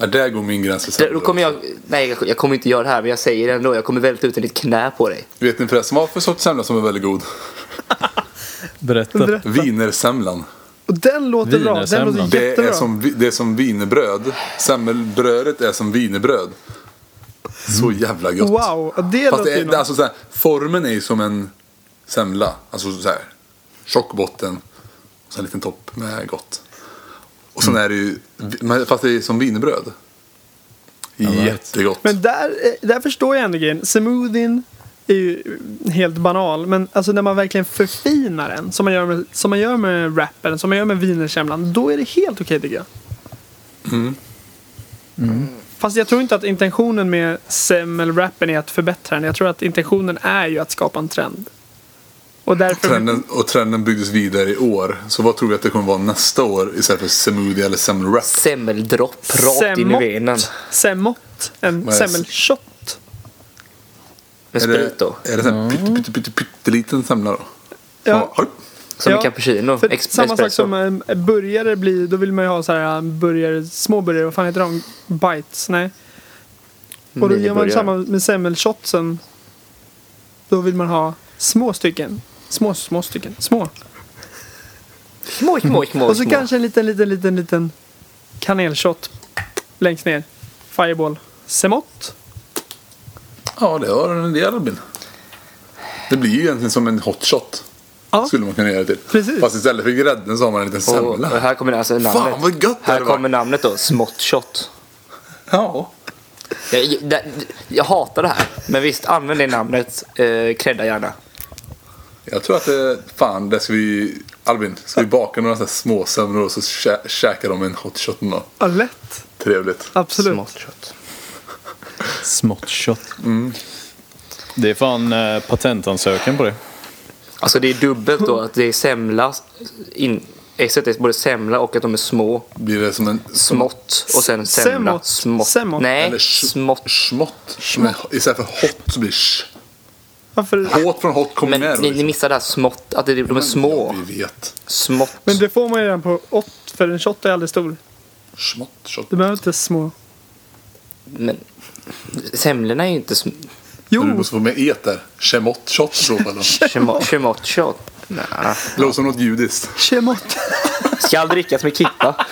Ja, där går min gräns för
Där-
semlor.
Då kommer jag, nej jag- jag kommer inte göra det här men jag säger det ändå, jag kommer välta ut en i ditt knä på dig.
Vet ni förresten vad för sorts semla som är väldigt god?
Berätta.
Wienersemlan.
Och den låter bra. Den
Wienersemlan.
låter
Det är,
jättebra.
som, vi- det är som wienerbröd. Semmelbrödet är som wienerbröd. Så jävla gott.
Mm. Wow, ja, det
Fast
låter
det
ju
är, det,
något.
alltså, så här, formen är ju som en semla. Alltså så här, tjock botten. Och så en liten topp med gott. Och
Mm.
sen är det ju, men- fast det är som wienerbröd. Jättegott.
Men där, eh, där förstår jag ändå grejen. Smoothien är ju eh, helt banal. Men alltså när man verkligen förfinar den, som man gör med, som man gör med rappen, som man gör med wienersemlan, då är det helt okej tycker jag. Fast jag tror inte att intentionen med semmelrappen är att förbättra den. Jag tror att intentionen är ju att skapa en trend. Och därför...
Trenden, och trenden byggdes vidare i år. Så vad tror vi att det kommer vara nästa år istället för smoothie eller semmelwrap?
Semmeldropp rakt in i
Semmot.
venen.
Semmot. En
Vad är det?
semmelshot.
Med
Är det,
sprit då.
är det en pytte, pytte, pytte, pytteliten semla då?
Ja.
Som-
Som
Ja,
en cappuccino.
För
Ex-
samma sak
espresso.
som eh, burgare blir, då vill man ju ha så här eh, burgare, små burgare, vad fan heter de? Bites? Nej. Och då gör man
Miniburgare.
ju samma med semmelshotsen. Då vill man ha små stycken. Små, små stycken. Små.
Små, små, små,
Och så
små.
kanske en liten, liten, liten, liten kanelshot längst ner. Fireball. Semot.
Ja, det har en del Albin. Det blir ju egentligen som en hotshot.
Ja.
Skulle man kunna göra det till.
Precis.
Fast istället för grädden så har man en liten
Och, och
semla.
här kommer alltså namnet.
Fan vad gött det
Här
hade
kommer
varit.
namnet då, smått shot.
Ja.
Jag, jag, jag hatar det här, men visst, använd det namnet. Eh, credda gärna.
Jag tror att det, fan, det ska vi, Albin, ska vi baka några sådana här små semlor och så kä- käka dem med en hotshot då?
Ja, lätt.
Trevligt.
Absolut.
Smått shot.
Smått kött.
Mm.
Det är fan eh, patentansökan på det.
Alltså det är dubbelt då, att det är semla in, Exet är både semla och att de är små.
Blir det som en...
Smått och sen semla.
Semot.
Smått.
Semot.
Nej,
Eller sch-
smått.
Schmott. Men Istället för hot så blir det sh.
Varför?
Hårt från hot kommer
Men
med.
ni, ni missar det här smått, att det, de är små.
Ja, vi vet.
Smått.
Men det får man ju redan på 8 för en shot är aldrig stor.
Schmott, shot.
Du behöver inte små.
Men semlorna är ju inte sm-
Jo,
Du måste få med et där. Chemott, shot i så fall. då.
chemo- chemotchot. Nah.
Det låter som något judiskt.
chemot,
Skall drickas med kippa.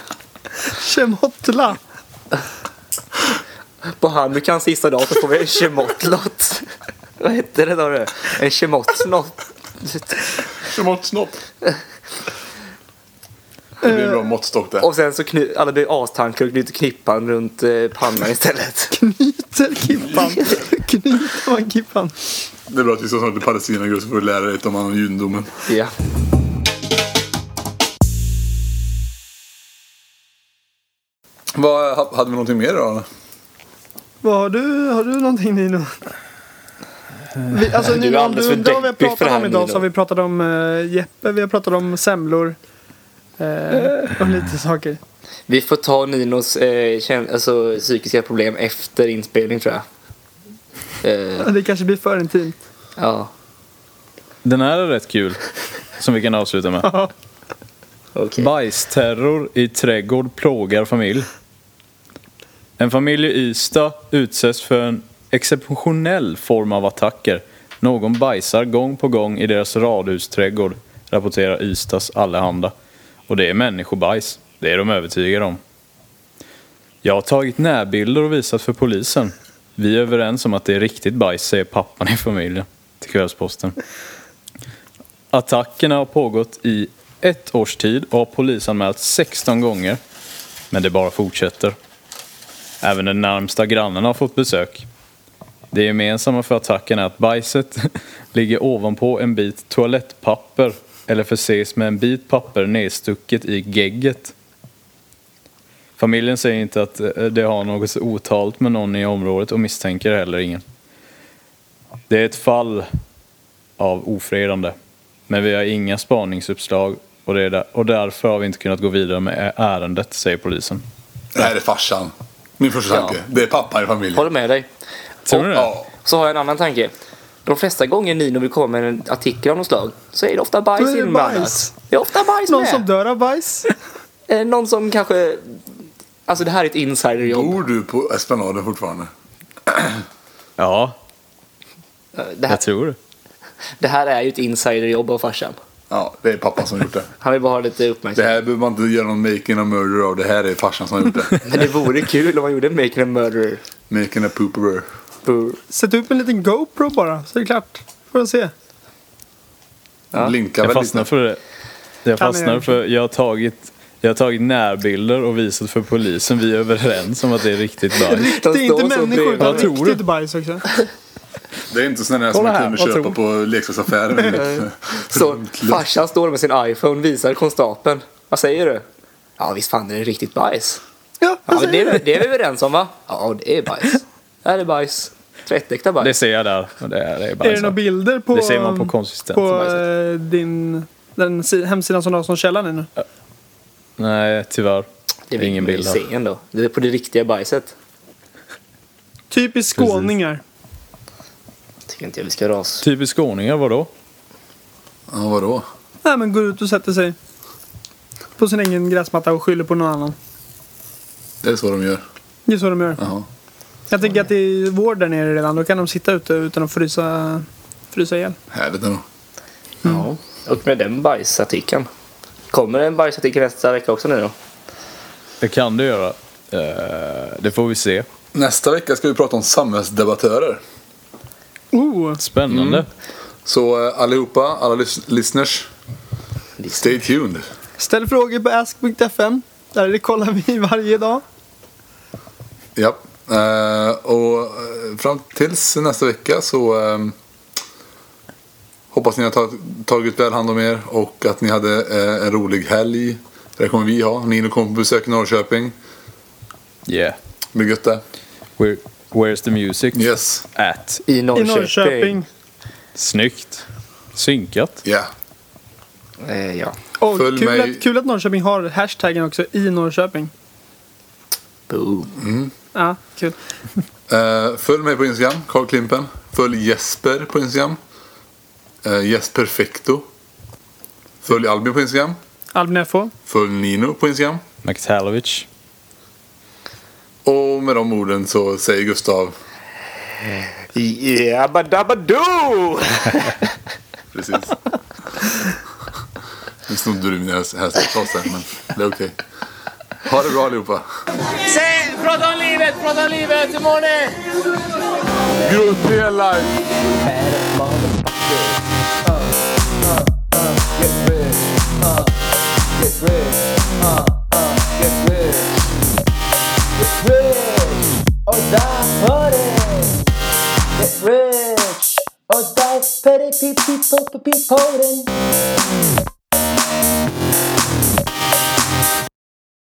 chemotla.
På Hanukkans sista dag så får vi en chemotlott. Vad hette det då? du? En chemotslott.
Chemott, snott. Det blir en bra måttstock där.
Och sen så kny- alla blir astankar och knyter knippan runt eh, pannan istället.
Knyter Kippan. Knyter man Kippan.
Det är bra att vi ska snart till Palestina Gus, så får du lära dig lite om annan judendomen.
Ja.
Vad, hade vi någonting mer då?
Vad har du? Har du någonting Nino? Vi, alltså,
Du är
Nino, om
alldeles
du
för
undrar vad vi har
deppig för det
pratat om
här,
idag
Nino.
så har vi pratat om eh, Jeppe, vi har pratat om semlor. Eh, och lite saker.
Vi får ta Ninos eh, kän- alltså, psykiska problem efter inspelning tror jag. Eh,
Det kanske blir för intimt.
ja,
Den här är rätt kul. Som vi kan avsluta med.
okej.
Bajsterror i trädgård plågar familj. En familj i Ystad utsätts för en exceptionell form av attacker. Någon bajsar gång på gång i deras radhusträdgård, rapporterar Ystads Allehanda. Och det är människobajs, det är de övertygade om. Jag har tagit närbilder och visat för polisen. Vi är överens om att det är riktigt bajs, säger pappan i familjen till Kvällsposten. Attackerna har pågått i ett års tid och har polisanmälts 16 gånger. Men det bara fortsätter. Även den närmsta grannen har fått besök. Det gemensamma för attacken är att bajset ligger ovanpå en bit toalettpapper eller förses med en bit papper nedstucket i gegget. Familjen säger inte att eh, det har något otalt med någon i området och misstänker heller ingen. Det är ett fall av ofredande. Men vi har inga spaningsuppslag och, det är där, och därför har vi inte kunnat gå vidare med ä- ärendet, säger polisen.
Det här är farsan. Min första
Ja.
tanke. Det är pappan i familjen.
Håller med dig.
Tror du det?
Ja.
Så har jag en annan tanke. De flesta gånger Nino vill komma med en artikel av något slag så är det ofta
Då är
bajs
det
inblandat.
bajs.
Det är ofta bajs
Någon
med.
som dör av bajs?
Eh, någon som kanske... Alltså det här är ett insiderjobb.
Bor du på Esplanaden fortfarande?
Ja,
Eh, Det här,
jag tror det.
det här är ju ett insiderjobb av farsan.
Ja, det är pappan som gjort det.
Han vill bara ha lite
Det
uppmärksamhet.
här behöver man inte göra någon making a murder av. Det här är farsan som har gjort det.
Men det vore kul om man gjorde en Making a Murderer.
Making a pooper.
Boo.
Sätt upp en liten GoPro bara så är det klart. Får de se.
Ja.
Blinkar
Jag
väl
fastnar
lite.
för det. Jag
Kan
fastnar
jag-
för jag har tagit jag har tagit närbilder och visat för polisen. Vi är överens om att det är riktigt bajs.
De
Det är
står
inte
så
människor
bredvid.
utan
Vad tror du?
riktigt bajs också.
Det är inte sådana där som
Kolla
man
här,
kunde
vad
köpa
tror-
på leksaksaffären.
Så farsan står med sin iPhone, visar konstapeln. Vad säger du? Ja visst fan det är riktigt bajs.
Ja,
Alltså,
Ja men det är, det är vi överens om va? Ja det är bajs. Det här är bajs. Tvättäkta
Det
bajs.
ser jag där. Och Det är, det är,
Är det
bajs
några
här.
bilder på,
Det ser man på konsistensen.
på
bajset.
eh, din den si- hemsidan som du har som källa nu?
Nej, tyvärr. Det är
vill
ingen
man ju
bild här.
se ändå. Det är på det riktiga bajset.
Typiskt
Precis.
skåningar.
Tycker inte jag vi ska ras.
Typiskt Typ skåningar, vadå?
Ja, vadå?
Nej men går ut och sätter sig på sin egen gräsmatta och skyller på någon annan.
Det är så de gör.
Det är så de gör.
Jaha.
Jag tänker att det är vår där nere redan. Då kan de sitta ute utan att frysa, frysa ihjäl.
Härligt ändå.
Ja. Och med den bajsartikeln. Kommer det en bajsartikel nästa vecka också nu då?
Det kan du göra. Eh, Det får vi se.
Nästa vecka ska vi prata om samhällsdebattörer.
Oh,
Spännande.
Så eh, allihopa, alla lys- listeners, stay tuned.
ställ frågor på ask.fm. Där kollar vi varje dag.
Ja. Eh, och eh, fram tills nästa vecka så eh, hoppas ni har ta- tagit väl hand om er och att ni hade eh, en rolig helg. Det kommer vi ha. Nino kommer på besök i Norrköping.
Yeah.
Det blir gött det.
Where, where's the music?
Yes.
At.
I
I
Norrköping.
Norrköping.
Snyggt. Synkat.
Yeah.
Eh, ja.
Och
Följ
kul,
mig-
att, kul att Norrköping har hashtaggen också, i Norrköping.
Boom.
Ja, kul.
Eh, följ mig på Instagram, Carl Klimpen. Följ Jesper på Instagram. Eh, Jesperfecto. Följ Albin på Instagram.
Albin FH.
Följ Nino på Instagram.
McTalovic.
Och med de orden så säger Gustav
Jabba dabba doo!
precis. Nu snodde du min hälsningspaus där, men det är okej. Ha det bra allihopa. Se, från livet, från livet, imorgon! Grupp life!
Get rich or die petty peep peep poop peep potent.